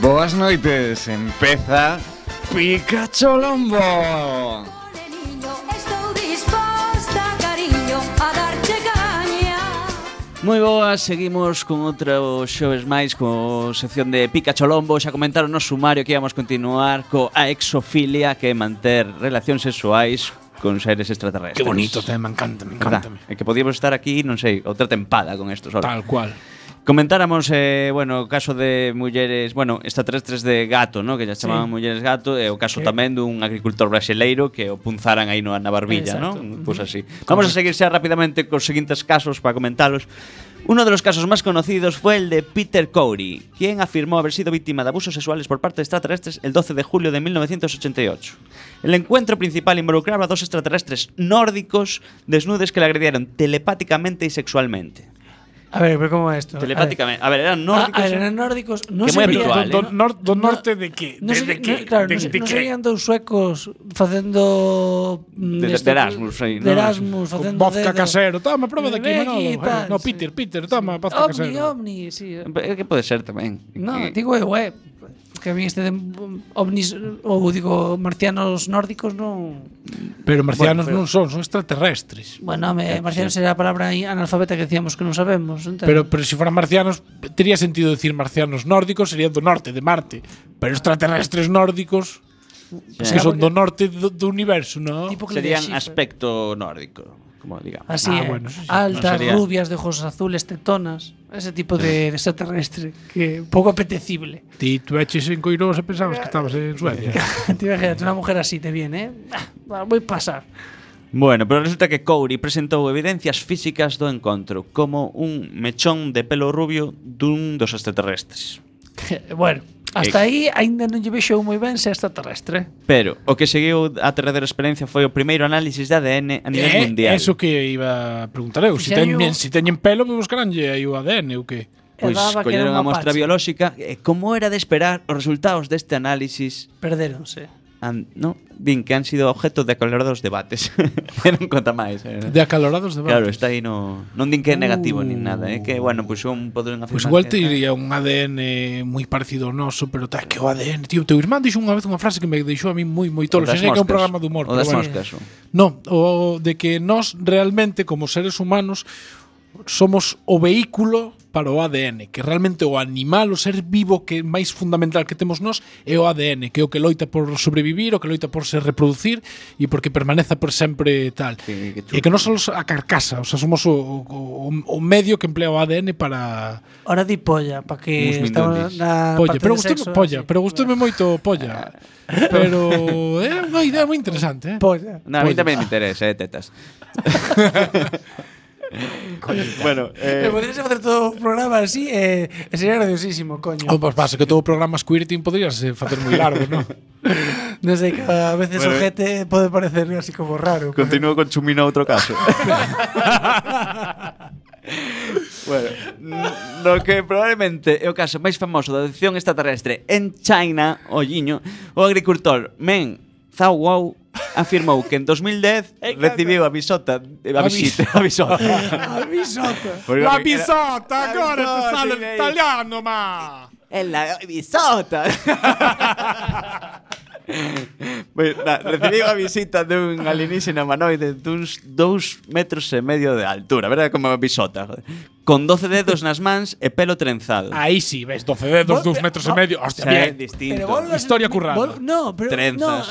Speaker 5: Boas noites, empeza Pikachu Lombo.
Speaker 14: Estou disposta, cariño, a darche caña
Speaker 9: Moi boas, seguimos con outra o xoves máis co sección de Pica Cholombo Xa comentaron no sumario que íbamos continuar co a exofilia que é manter relacións sexuais con seres extraterrestres e
Speaker 8: Que bonito, te, me encanta, me encanta.
Speaker 9: Verdad, É que podíamos estar aquí, non sei, outra tempada con esto solo
Speaker 8: Tal cual.
Speaker 9: Comentáramos, eh, bueno, o caso de mulleres, bueno, extraterrestres de gato, ¿no? Que ya
Speaker 15: Sí.
Speaker 9: chamaban mulleres gato, e o caso
Speaker 15: Sí.
Speaker 9: tamén dun agricultor brasileiro que o punzaran aí no, na barbilla,
Speaker 15: Exacto.
Speaker 9: ¿no? Pues así. Vamos a seguir xa rapidamente cos seguintes casos para comentalos. Uno de los casos más conocidos fue el de Peter Corey, quien afirmó haber sido víctima de abusos sexuales por parte de extraterrestres el 12 de julio de 1988. El encuentro principal involucraba a dos extraterrestres nórdicos desnudes que le agredieron telepáticamente y sexualmente.
Speaker 3: A ver, pero ¿cómo va esto?
Speaker 9: Telepáticamente. A ver,
Speaker 3: A
Speaker 9: eran
Speaker 3: ver,
Speaker 9: nórdicos. ¿eh?
Speaker 3: ah, eran nórdicos. No
Speaker 9: que
Speaker 3: se
Speaker 9: moi habitual,
Speaker 3: veía-
Speaker 9: eh?
Speaker 3: no- norte
Speaker 8: de qué?
Speaker 3: No, se- no, claro, no, se- non serían dous suecos facendo mm,
Speaker 9: De- de
Speaker 3: isto-
Speaker 9: Erasmus aí,
Speaker 3: de
Speaker 9: non?
Speaker 3: Erasmus facendo
Speaker 8: Vodka
Speaker 3: dedo.
Speaker 8: casero. Toma, prueba de
Speaker 3: Ve
Speaker 8: aquí, Manolo.
Speaker 3: tal.
Speaker 8: No, Peter, Peter, toma, vodka
Speaker 3: Omni,
Speaker 8: casero.
Speaker 3: Omni, sí.
Speaker 9: Eh, Que pode ser tamén.
Speaker 3: No,
Speaker 9: Que-
Speaker 3: digo eu, eh. Que a mí este de mm, ovnis ou digo marcianos nórdicos non
Speaker 8: Pero marcianos
Speaker 3: Bueno, pero-
Speaker 8: non son, son extraterrestres.
Speaker 3: Bueno, me, marcianos
Speaker 8: Eh, sí.
Speaker 3: era a palabra aí analfabeta que decíamos que non sabemos. entón.
Speaker 8: Pero, pero si fueran marcianos, tendría sentido decir marcianos nórdicos, serían do norte, de Marte. Pero extraterrestres nórdicos, es que son do norte do, do universo, ¿no?
Speaker 3: ¿eh?
Speaker 9: Serían aspecto nórdico, como digamos.
Speaker 3: Así,
Speaker 8: Ah,
Speaker 3: eh,
Speaker 8: bueno, sí, sí.
Speaker 3: altas,
Speaker 9: No sería-
Speaker 3: rubias, de ojos azules, tetonas. Ese tipo de de extraterrestre que pouco apetecible. *laughs*
Speaker 8: Ti tú eches en Coirós e pensabas que estabas en Suecia.
Speaker 3: Te imagínate, una mujer así te viene, ¿eh? Ah, Voy a pasar. *laughs*
Speaker 9: Bueno, pero resulta que Coury presentou evidencias físicas do encontro, como un mechón de pelo rubio dun dos extraterrestres.
Speaker 3: bueno, hasta
Speaker 9: Eh.
Speaker 3: aí aínda non lle vexo moi ben se é extraterrestre.
Speaker 9: Pero o que seguiu a terceira experiencia foi o primeiro análisis de ADN *laughs* a nivel
Speaker 8: Eh,
Speaker 9: mundial.
Speaker 8: Eso que iba a preguntar eu, si
Speaker 9: Fixeron-
Speaker 8: teñen, si teñen pelo, me buscaranlle aí o ADN ou que?
Speaker 9: Pois colleron a mostra biolóxica e como era de esperar os resultados deste análisis
Speaker 3: Perdéronse.
Speaker 9: an, no, din que han sido objeto de acalorados debates. *laughs* non conta máis. Eh.
Speaker 8: De acalorados debates.
Speaker 9: Claro, está aí no, non din que é negativo nin nada, eh, que bueno, pois pues, un poden afirmar.
Speaker 8: Pois igual te
Speaker 9: que-
Speaker 8: iría un ADN moi parecido ao noso, pero tá que o ADN, tío, teu irmán dixo unha vez unha frase que me deixou a mí moi moi tolo,
Speaker 9: O das
Speaker 8: xa sei que é un
Speaker 9: moscas.
Speaker 8: programa de humor,
Speaker 9: O das
Speaker 8: bueno.
Speaker 9: moscas, o.
Speaker 8: No, o de que nós realmente como seres humanos somos o vehículo para o ADN, que realmente o animal, o ser vivo que é máis fundamental que temos nós é o ADN, que é o que loita por sobrevivir, o que loita por se reproducir e porque permaneza por sempre tal.
Speaker 9: Que,
Speaker 8: e que non só a carcasa, o sea, somos o, o, o- o medio que emplea o ADN para
Speaker 3: Ahora di polla, para que
Speaker 8: Uns
Speaker 3: estamos
Speaker 8: minutis.
Speaker 3: na
Speaker 8: Polla,
Speaker 3: parte
Speaker 8: pero
Speaker 3: de
Speaker 8: gustoume
Speaker 3: Ah, sexo,
Speaker 8: polla,
Speaker 3: sí.
Speaker 8: pero gustoume moito
Speaker 3: *laughs*
Speaker 8: polla. pero é unha idea moi interesante, eh.
Speaker 3: Polla.
Speaker 9: Na, a mí tamén me interesa, eh, tetas. bueno,
Speaker 3: Eh, podrías facer todo o programa así eh, e sería graciosísimo, coño.
Speaker 8: O pues pasa que todo o programa Squirting podrías eh, facer moi largo, non?
Speaker 3: non sei, que a veces o
Speaker 9: Bueno,
Speaker 3: jete pode parecer así como raro. pero-
Speaker 9: Continúo con Chumino outro caso. *laughs* bueno, n- no que probablemente é o caso máis famoso da adopción extraterrestre en China, o Lliño, o agricultor Men Zhao Wow afirmou que en
Speaker 8: *laughs*
Speaker 9: 2010 recibiu a bisota a
Speaker 8: A
Speaker 9: visita a
Speaker 8: *laughs*
Speaker 9: bisota
Speaker 8: La bisota.
Speaker 9: Porque
Speaker 8: La
Speaker 9: era-
Speaker 8: bisota,
Speaker 9: La
Speaker 8: agora te
Speaker 9: bisota,
Speaker 8: sale
Speaker 9: direi.
Speaker 8: italiano, ma.
Speaker 9: É la *laughs* bisota. Pois, na, recibiu a visita dun alienígena humanoide duns dous metros e medio de altura, verdad? Como a bisota. joder. Con 12 dedos nas mans e pelo
Speaker 8: *laughs*
Speaker 9: trenzado.
Speaker 8: Aí sí, ves, 12 dedos, 2 metros e medio. Hostia,
Speaker 9: O sea, é
Speaker 8: bien.
Speaker 3: Pero
Speaker 9: distinto.
Speaker 3: volvas-
Speaker 8: Historia currada.
Speaker 3: vol- No, pero
Speaker 9: Trenzas.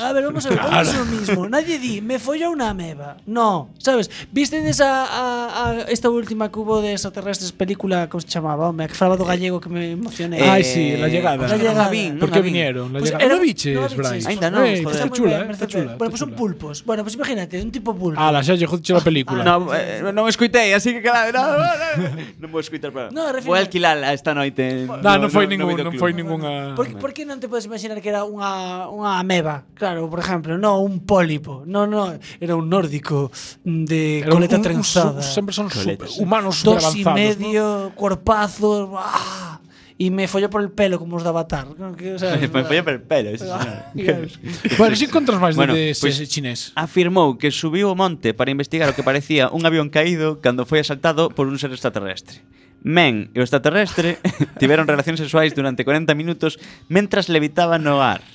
Speaker 3: no, a ver, vamos a ver,
Speaker 9: Claro.
Speaker 3: vamos a lo mismo. Nadie di, me folla una ameba. No, ¿sabes? ¿Viste esa a, a esta última que hubo de extraterrestres película que se llamaba, hombre, que falaba do gallego que me emocioné.
Speaker 8: Eh, Ai, sí, La Llegada.
Speaker 3: La llegada.
Speaker 8: Non a vin, non Por que a vin. vinieron? La Llegada. Non a viches, Brais?
Speaker 3: Ainda
Speaker 8: Ainda
Speaker 3: non, pues,
Speaker 8: non, joder.
Speaker 3: está
Speaker 8: Está
Speaker 3: moi
Speaker 8: chula,
Speaker 3: ben,
Speaker 8: eh,
Speaker 3: merece
Speaker 8: está
Speaker 3: ben.
Speaker 8: chula,
Speaker 3: Bueno, pues son pulpos. Bueno, pues imagínate, un tipo pulpo.
Speaker 8: Ah, la xa lle jodiche a película.
Speaker 9: No, eh, non escuitei, así que claro, no, no,
Speaker 3: *laughs*
Speaker 9: non vou escuitar para.
Speaker 3: No, refiro-
Speaker 9: vou alquilala esta noite.
Speaker 8: No, non foi ningún, non foi
Speaker 9: ningún.
Speaker 8: ningunha.
Speaker 3: ¿Por, qué- por qué no te puedes imaginar que era una, una ameba? Claro, por ejemplo, no un pólipo. No, no, era un nórdico de
Speaker 8: Era un-
Speaker 3: coleta
Speaker 8: un- un
Speaker 3: trenzada.
Speaker 8: su- siempre son super-
Speaker 3: Coletas.
Speaker 8: humanos
Speaker 3: Dos
Speaker 8: superavanzados,
Speaker 3: y medio, cuerpazo. ¡buah! Y me folló por el pelo, como os de Avatar. Creo que, o sea,
Speaker 9: *laughs* Me foi per pelo, sí,
Speaker 3: *laughs* Claro.
Speaker 9: señor.
Speaker 8: Bueno, si encontras máis eh,
Speaker 9: Bueno,
Speaker 8: de, de
Speaker 9: pois-
Speaker 8: ese chinés.
Speaker 9: afirmou que subiu o monte para investigar o que parecía un avión caído cando foi asaltado por un ser extraterrestre. Men e o extraterrestre *laughs* tiveron relacións sexuais durante 40 minutos mentras levitaban no ar.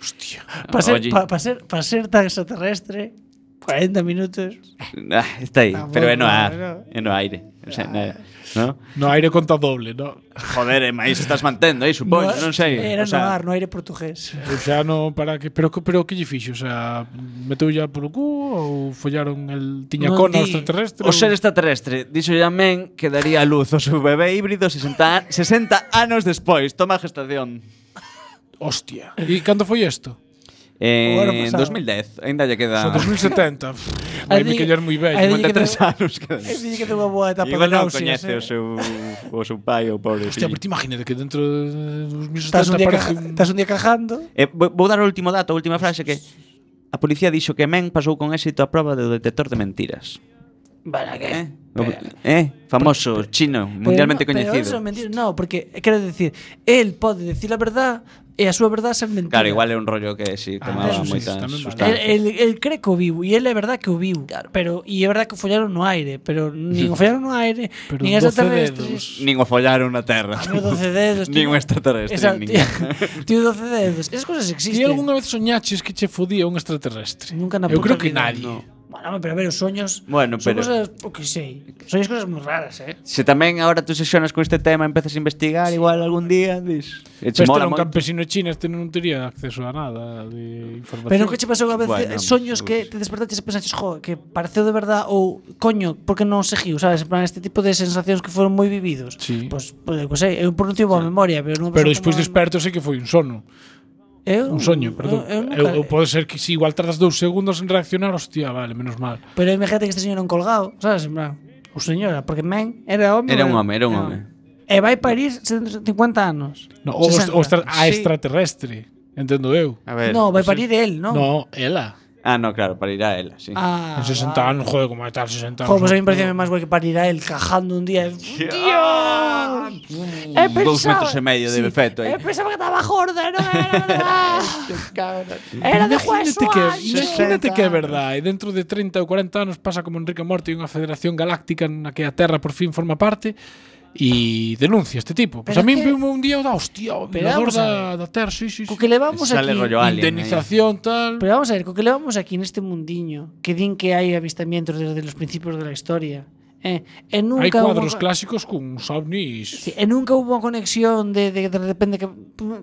Speaker 8: Hostia.
Speaker 3: Para ser, pa- pa ser- pa ser tan extraterrestre, 40 minutos.
Speaker 9: Ah, está ahí,
Speaker 8: Ah,
Speaker 9: pero é
Speaker 8: bueno,
Speaker 9: no ar,
Speaker 8: bueno.
Speaker 9: é no aire. O sea,
Speaker 3: Ah.
Speaker 9: na- no?
Speaker 8: No aire conta doble, no?
Speaker 9: Joder, e máis estás mantendo aí, supoño, non sei.
Speaker 3: Era
Speaker 9: o sea,
Speaker 3: no ar, no aire portugués.
Speaker 8: Eu xa non para que, pero pero que lle fixo, o sea, meteu ya polo cu ou follaron el tiña E
Speaker 9: Non
Speaker 8: cona
Speaker 9: di.
Speaker 8: extraterrestre?
Speaker 9: O ser extraterrestre dixo tamén que daría a luz o seu bebé híbrido 60, a- 60 anos despois. Toma a gestación.
Speaker 8: Hostia. E cando foi isto?
Speaker 9: Eh,
Speaker 8: O ano
Speaker 9: en
Speaker 8: pasado.
Speaker 9: 2010, ainda lle
Speaker 8: O
Speaker 9: queda... *laughs*
Speaker 8: 2070. Vai me callar moi ben.
Speaker 9: Aí di que 53 anos
Speaker 3: *laughs* Dí que tuvo boa etapa
Speaker 9: Igual
Speaker 3: de
Speaker 9: non
Speaker 3: náuseas,
Speaker 9: coñece
Speaker 3: eh.
Speaker 9: o seu, o seu pai ou pobre
Speaker 8: Hostia,
Speaker 9: fillo.
Speaker 8: pero te imagínate que dentro de 2070
Speaker 3: Estás un, día
Speaker 8: aparece
Speaker 3: caja- estás un día cajando.
Speaker 9: Eh, vou vou dar o último dato, a última frase que a policía dixo que Men pasou con éxito a proba do detector de mentiras. Eh,
Speaker 3: Para que?
Speaker 9: O- Eh, famoso, chino, mundialmente
Speaker 3: pero, no, Pero eso é
Speaker 9: coñecido.
Speaker 3: mentira. No, porque quero decir, él pode decir a verdad e a súa verdad ser mentira. Ah,
Speaker 9: Claro, igual é un rollo que si tomaba
Speaker 3: eso sí,
Speaker 9: moitas
Speaker 3: tamén
Speaker 9: sustancias.
Speaker 3: El, el, el cree que o viu e el é verdad que o viu. Pero e é verdad que o follaron no aire, pero
Speaker 9: *laughs*
Speaker 3: nin o follaron no aire,
Speaker 9: Pero
Speaker 3: nin
Speaker 9: doce
Speaker 3: extraterrestres.
Speaker 9: Nin o follaron na terra.
Speaker 3: Tiño 12
Speaker 9: *laughs*
Speaker 3: dedos.
Speaker 9: Nin un extraterrestre.
Speaker 3: Ah, Esa-
Speaker 9: nin.
Speaker 3: *laughs* Tiño 12 dedos. Esas cosas existen.
Speaker 8: Ti algunha vez soñaches que che fodía un extraterrestre?
Speaker 3: Nunca na
Speaker 8: Eu
Speaker 3: puta
Speaker 8: creo que
Speaker 3: vida,
Speaker 8: nadie.
Speaker 9: no.
Speaker 3: Bueno, pero a ver, os sueños
Speaker 9: Bueno,
Speaker 3: son
Speaker 9: pero-
Speaker 3: cosas, o que sei, soños cosas moi raras, eh.
Speaker 9: Se tamén agora tú sesionas con este tema e empezas a investigar, igual algún día dis. E che
Speaker 8: Pero este
Speaker 9: mola
Speaker 8: era un
Speaker 9: moito.
Speaker 8: campesino chino, este non tería acceso a nada de información.
Speaker 3: Pero que che pasou a veces eh,
Speaker 8: Bueno,
Speaker 3: soños que te despertaches e pensaches, jo, que pareceu de verdad ou coño, porque non seguiu, sabes? En plan este tipo de sensacións que foron moi vividos.
Speaker 8: Sí.
Speaker 3: Pois, pues, eu que sei, eu por un tiempo a memoria, pero non
Speaker 8: Pero despois desperto sei que foi un sono.
Speaker 3: Eu,
Speaker 8: un soño, perdón.
Speaker 3: eu
Speaker 8: Eu,
Speaker 3: nunca-
Speaker 8: eu, pode ser que si igual tardas dous segundos en reaccionar, hostia, vale, menos mal.
Speaker 3: Pero imagínate que este señor é un colgado, sabes? En plan, o señora, porque men era home.
Speaker 9: Era
Speaker 3: pero-
Speaker 9: un home, era un
Speaker 3: no.
Speaker 9: home.
Speaker 3: E vai parir 50 anos.
Speaker 8: No, o, o
Speaker 3: 60.
Speaker 8: extra, a
Speaker 3: Sí.
Speaker 8: extraterrestre, entendo eu.
Speaker 9: A ver.
Speaker 3: No, vai parir el, non?
Speaker 8: No, ela.
Speaker 9: Ah, no, claro, para ir a ela, sí.
Speaker 3: Ah,
Speaker 8: en 60 anos, joder, como está 60 anos.
Speaker 3: Jo, pues a mí me parecía máis guai que parir a el cajando un día. ¡Dios! He
Speaker 9: Dos
Speaker 3: pensado-
Speaker 9: metros e medio de efecto aí.
Speaker 3: Eh, pensaba que estaba gorda, non era verdad. era de juez
Speaker 8: Imagínate que,
Speaker 3: suave.
Speaker 8: imagínate que é verdade. E dentro de 30 ou 40 anos pasa como Enrique Morty unha federación galáctica na que a Terra por fin forma parte e denuncia este tipo. Pois
Speaker 3: Pero
Speaker 8: a mí
Speaker 3: que-
Speaker 8: viu un día, da hostia, oh, o
Speaker 3: Pero
Speaker 8: violador
Speaker 3: vamos a
Speaker 8: da, da Terra, sí, sí, sí.
Speaker 3: Co que levamos aquí
Speaker 9: eh.
Speaker 8: Indemnización, tal.
Speaker 3: Pero vamos a ver, co que levamos aquí neste mundiño, que din que hai avistamientos desde os principios da historia. Eh, e nunca
Speaker 8: Hai cuadros
Speaker 3: hubo,
Speaker 8: clásicos con ovnis.
Speaker 3: Sí, e nunca hubo unha conexión de, de, de repente que,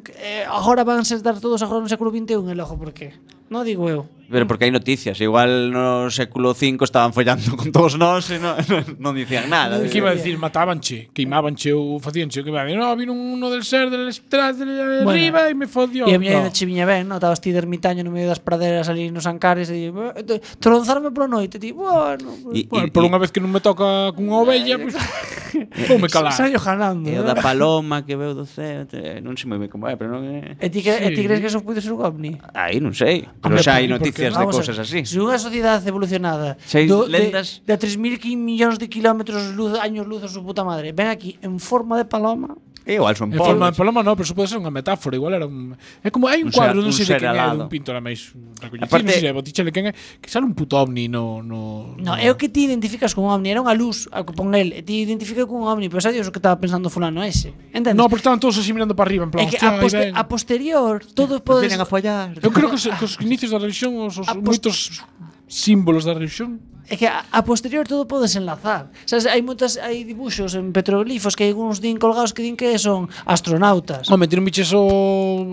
Speaker 3: que eh, agora van a dar todos agora no século 21 e logo por qué? Non digo eu.
Speaker 9: Pero porque hai noticias, igual no século V estaban follando con todos nós e non, *laughs* non dicían nada.
Speaker 8: que iba a decir, matabanche, queimabanche ou facíanche, que iba a decir, no, vino uno del ser, del estras, del
Speaker 3: Bueno,
Speaker 8: arriba e me fodió.
Speaker 3: E a miña no.
Speaker 8: No.
Speaker 3: chiviña ben, non? Estabas ti de ermitaño no medio das praderas ali nos ancares e di, "Eh, te- tronzarme pola noite, ti, bueno,
Speaker 9: Y-
Speaker 8: Bueno,
Speaker 9: y-
Speaker 8: por unha vez que non me toca cunha ovella,
Speaker 9: *laughs*
Speaker 8: pois pues, voume calar.
Speaker 3: Saio eh". jalando.
Speaker 9: E Eh, o da paloma que veu do ceo, te- non sei moi ben como é, pero non é...
Speaker 3: E ti, que, e ti crees que eso puido ser un ovni?
Speaker 9: Aí non sei, pero xa hai noticias de
Speaker 3: Vamos a-
Speaker 9: cousas así.
Speaker 3: Se unha sociedade evolucionada
Speaker 9: Se hai
Speaker 3: lendas de, de 3.000 millóns de kilómetros luz, años luz a su puta madre, ven aquí en forma de paloma.
Speaker 9: E Eh, igual son
Speaker 8: En forma
Speaker 9: polvos.
Speaker 8: de paloma non, pero eso pode ser unha metáfora, igual era un É como hai un,
Speaker 9: Un ser-
Speaker 8: cuadro, non
Speaker 9: un
Speaker 8: sei de
Speaker 9: ser
Speaker 8: quen é,
Speaker 9: alado.
Speaker 8: dun pintor máis recoñecido,
Speaker 9: Aparte-
Speaker 8: non sei de Botticelli quen é, que sale un puto ovni no no
Speaker 3: No, é o que ti identificas como ovni, era unha luz a que pon el, e ti identifica como ovni, pero xa o que estaba pensando fulano ese. Entendes?
Speaker 8: No, porque estaban todos así mirando para arriba, en
Speaker 3: É
Speaker 8: plan,
Speaker 3: que
Speaker 8: "Hostia,
Speaker 3: a,
Speaker 8: aí
Speaker 3: poste-
Speaker 8: ven".
Speaker 3: a posterior todo pode
Speaker 8: vienen a
Speaker 9: follar.
Speaker 8: Eu creo que os, que os inicios da religión, os, os moitos símbolos da religión,
Speaker 3: É que a, a posterior todo podes enlazar. Sabes, hai moitas hai dibuxos en petroglifos que hai uns din colgados que din que son astronautas.
Speaker 8: Home, tiene un biches o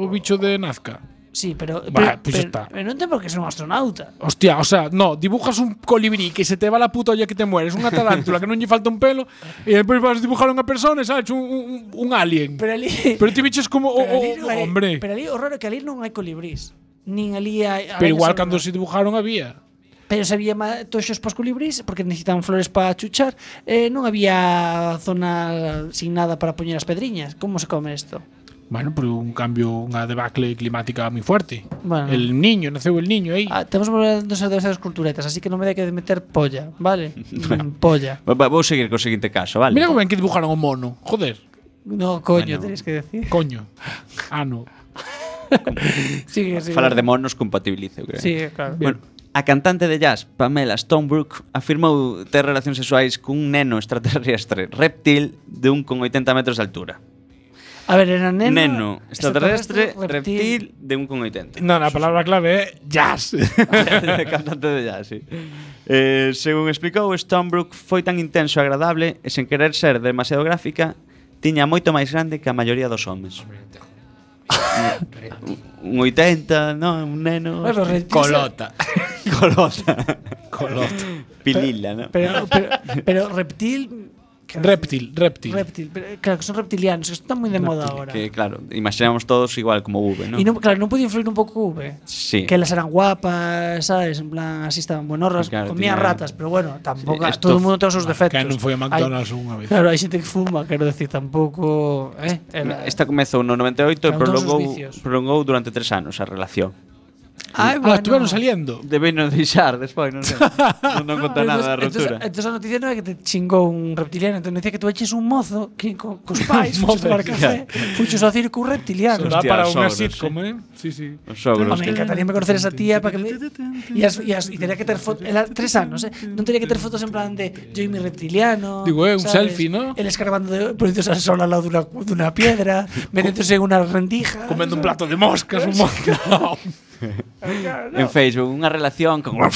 Speaker 8: bicho de Nazca.
Speaker 3: Sí, pero,
Speaker 8: Bah,
Speaker 3: pero,
Speaker 8: pois
Speaker 3: pero-
Speaker 8: está.
Speaker 3: pero non ten por que ser un astronauta.
Speaker 8: Hostia, o sea, no, dibujas un colibrí que se te va la puta olla que te mueres, unha tarántula que non lle falta un pelo, e despois vas a dibujar unha persona, e sabes, un, un, un alien.
Speaker 3: Pero ali...
Speaker 8: *laughs* Pero ti biches como o,
Speaker 3: Pero
Speaker 8: o,
Speaker 3: ali non hai-
Speaker 8: hombre.
Speaker 3: Pero ali o raro é que ali non hai colibrís. Nin ali hai...
Speaker 8: Pero igual
Speaker 3: arañas
Speaker 8: cando se dibujaron había.
Speaker 3: Pero se había ma- toxos para os colibrís porque necesitan flores para chuchar. Eh, non había zona sin nada para poñer as pedriñas. Como se come isto?
Speaker 8: Bueno, pero un cambio, unha debacle climática moi fuerte.
Speaker 3: Bueno.
Speaker 8: El niño, naceu el niño aí.
Speaker 3: Ah, temos volvendo a das culturetas, así que non me dai que de meter polla, vale?
Speaker 8: *laughs*
Speaker 3: Mm, polla.
Speaker 9: Va- va- Vou seguir co seguinte caso, vale?
Speaker 8: Mira como ben que dibujaron o mono. Joder.
Speaker 3: No, coño,
Speaker 9: Bueno.
Speaker 3: tenéis que
Speaker 9: *laughs*
Speaker 3: decir.
Speaker 8: Coño. Ah, Ano.
Speaker 3: Sigue, sigue.
Speaker 9: Falar de monos compatibiliza, eu creo.
Speaker 3: Sí, claro.
Speaker 9: Bueno, a cantante de jazz Pamela Stonebrook afirmou ter relacións sexuais cun neno extraterrestre reptil de un con 80 metros de altura.
Speaker 3: A ver, era neno,
Speaker 9: neno extraterrestre,
Speaker 3: reptil.
Speaker 9: *laughs* reptil de un con 80.
Speaker 8: Non, a palabra clave é jazz.
Speaker 9: cantante de jazz, sí. Eh, según explicou, Stonebrook foi tan intenso e agradable e sen querer ser demasiado gráfica, tiña moito máis grande que a maioría
Speaker 3: *laughs*
Speaker 9: dos homes. un 80, non, un neno.
Speaker 3: Bueno, retiro-
Speaker 9: colota. *laughs* colota.
Speaker 3: Colota.
Speaker 9: Pilila, non?
Speaker 3: Pero, pero, pero reptil.
Speaker 9: Reptil, reptil.
Speaker 3: Reptil. pero, claro, que son reptilianos, que están moi de moda ahora.
Speaker 9: Que claro, imaginamos todos igual como V, non?
Speaker 3: Y no, claro, no puede influir un poco V.
Speaker 9: Sí.
Speaker 3: Que las eran guapas, ¿sabes? En plan, así estaban buenorras,
Speaker 9: Claro,
Speaker 3: comían
Speaker 9: tiña-
Speaker 3: ratas, pero bueno, tampoco.
Speaker 9: Sí, esto
Speaker 3: todo el mundo tiene sus
Speaker 9: fu-
Speaker 3: defectos.
Speaker 9: que non foi a McDonald's
Speaker 3: Hai-
Speaker 9: unha vez.
Speaker 3: Claro, hay gente que fuma, quiero decir, tampoco. ¿eh? Era-
Speaker 9: Esta comezou no
Speaker 3: Eran
Speaker 9: 98 e
Speaker 3: todos os
Speaker 9: prolongou,
Speaker 3: vicios.
Speaker 9: prolongou durante tres anos a relación.
Speaker 3: Ay,
Speaker 16: Ah, estuvieron saliendo.
Speaker 9: Debeno deixar despois, non sei. non, non conta nada da
Speaker 3: entonces, eh,
Speaker 9: ruptura.
Speaker 3: entonces a noticia non é que te chingou un reptiliano, entonces decía que tú eches un mozo que co, cos
Speaker 16: *laughs*
Speaker 3: pais
Speaker 16: Un mozo,
Speaker 3: fuches tomar café, fuches ao circo reptiliano.
Speaker 16: Dá para unha
Speaker 9: sogros,
Speaker 16: sitcom, eh? Sí, sí.
Speaker 9: Os sogros.
Speaker 3: Home, me encantaría me conocer a esa tía para que me... Y, as, y, as, y tenía que ter fotos... Era tres anos, eh? Non tenía que ter fotos en plan de yo y mi reptiliano...
Speaker 16: Digo, eh, un selfie, ¿no?
Speaker 3: El escarbando de, poniéndose al sol al lado dunha, dunha piedra, metiéndose en unha rendija...
Speaker 16: Comendo un plato de moscas, *laughs* un mosca.
Speaker 9: En Facebook, unha relación con *laughs*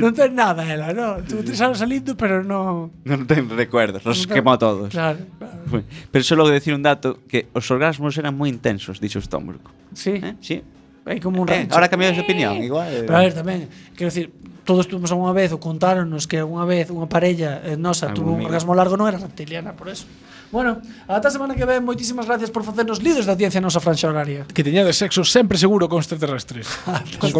Speaker 3: non ten nada ela, non? Tuvo tres anos salindo, pero non...
Speaker 9: non ten recuerdos, los quemou a todos.
Speaker 3: Claro.
Speaker 9: Pero só logo decir un dato que os orgasmos eran moi intensos, dixo Stonebrook.
Speaker 3: Sí.
Speaker 9: Eh? Sí.
Speaker 3: Hay como un
Speaker 9: Eh,
Speaker 3: rancho.
Speaker 9: ahora cambiades de opinión, igual. eh.
Speaker 3: Pero a ver, tamén, quero decir, todos tuvimos alguna vez ou contáronos que alguna vez unha parella eh, nosa
Speaker 9: Algún
Speaker 3: tuvo un
Speaker 9: amigo.
Speaker 3: orgasmo largo, non era reptiliana, por eso. Bueno, ata a semana que ven, moitísimas gracias por facernos líderes da ciencia nosa franxa horaria.
Speaker 16: *laughs* que teñades sexo sempre seguro con extraterrestres. con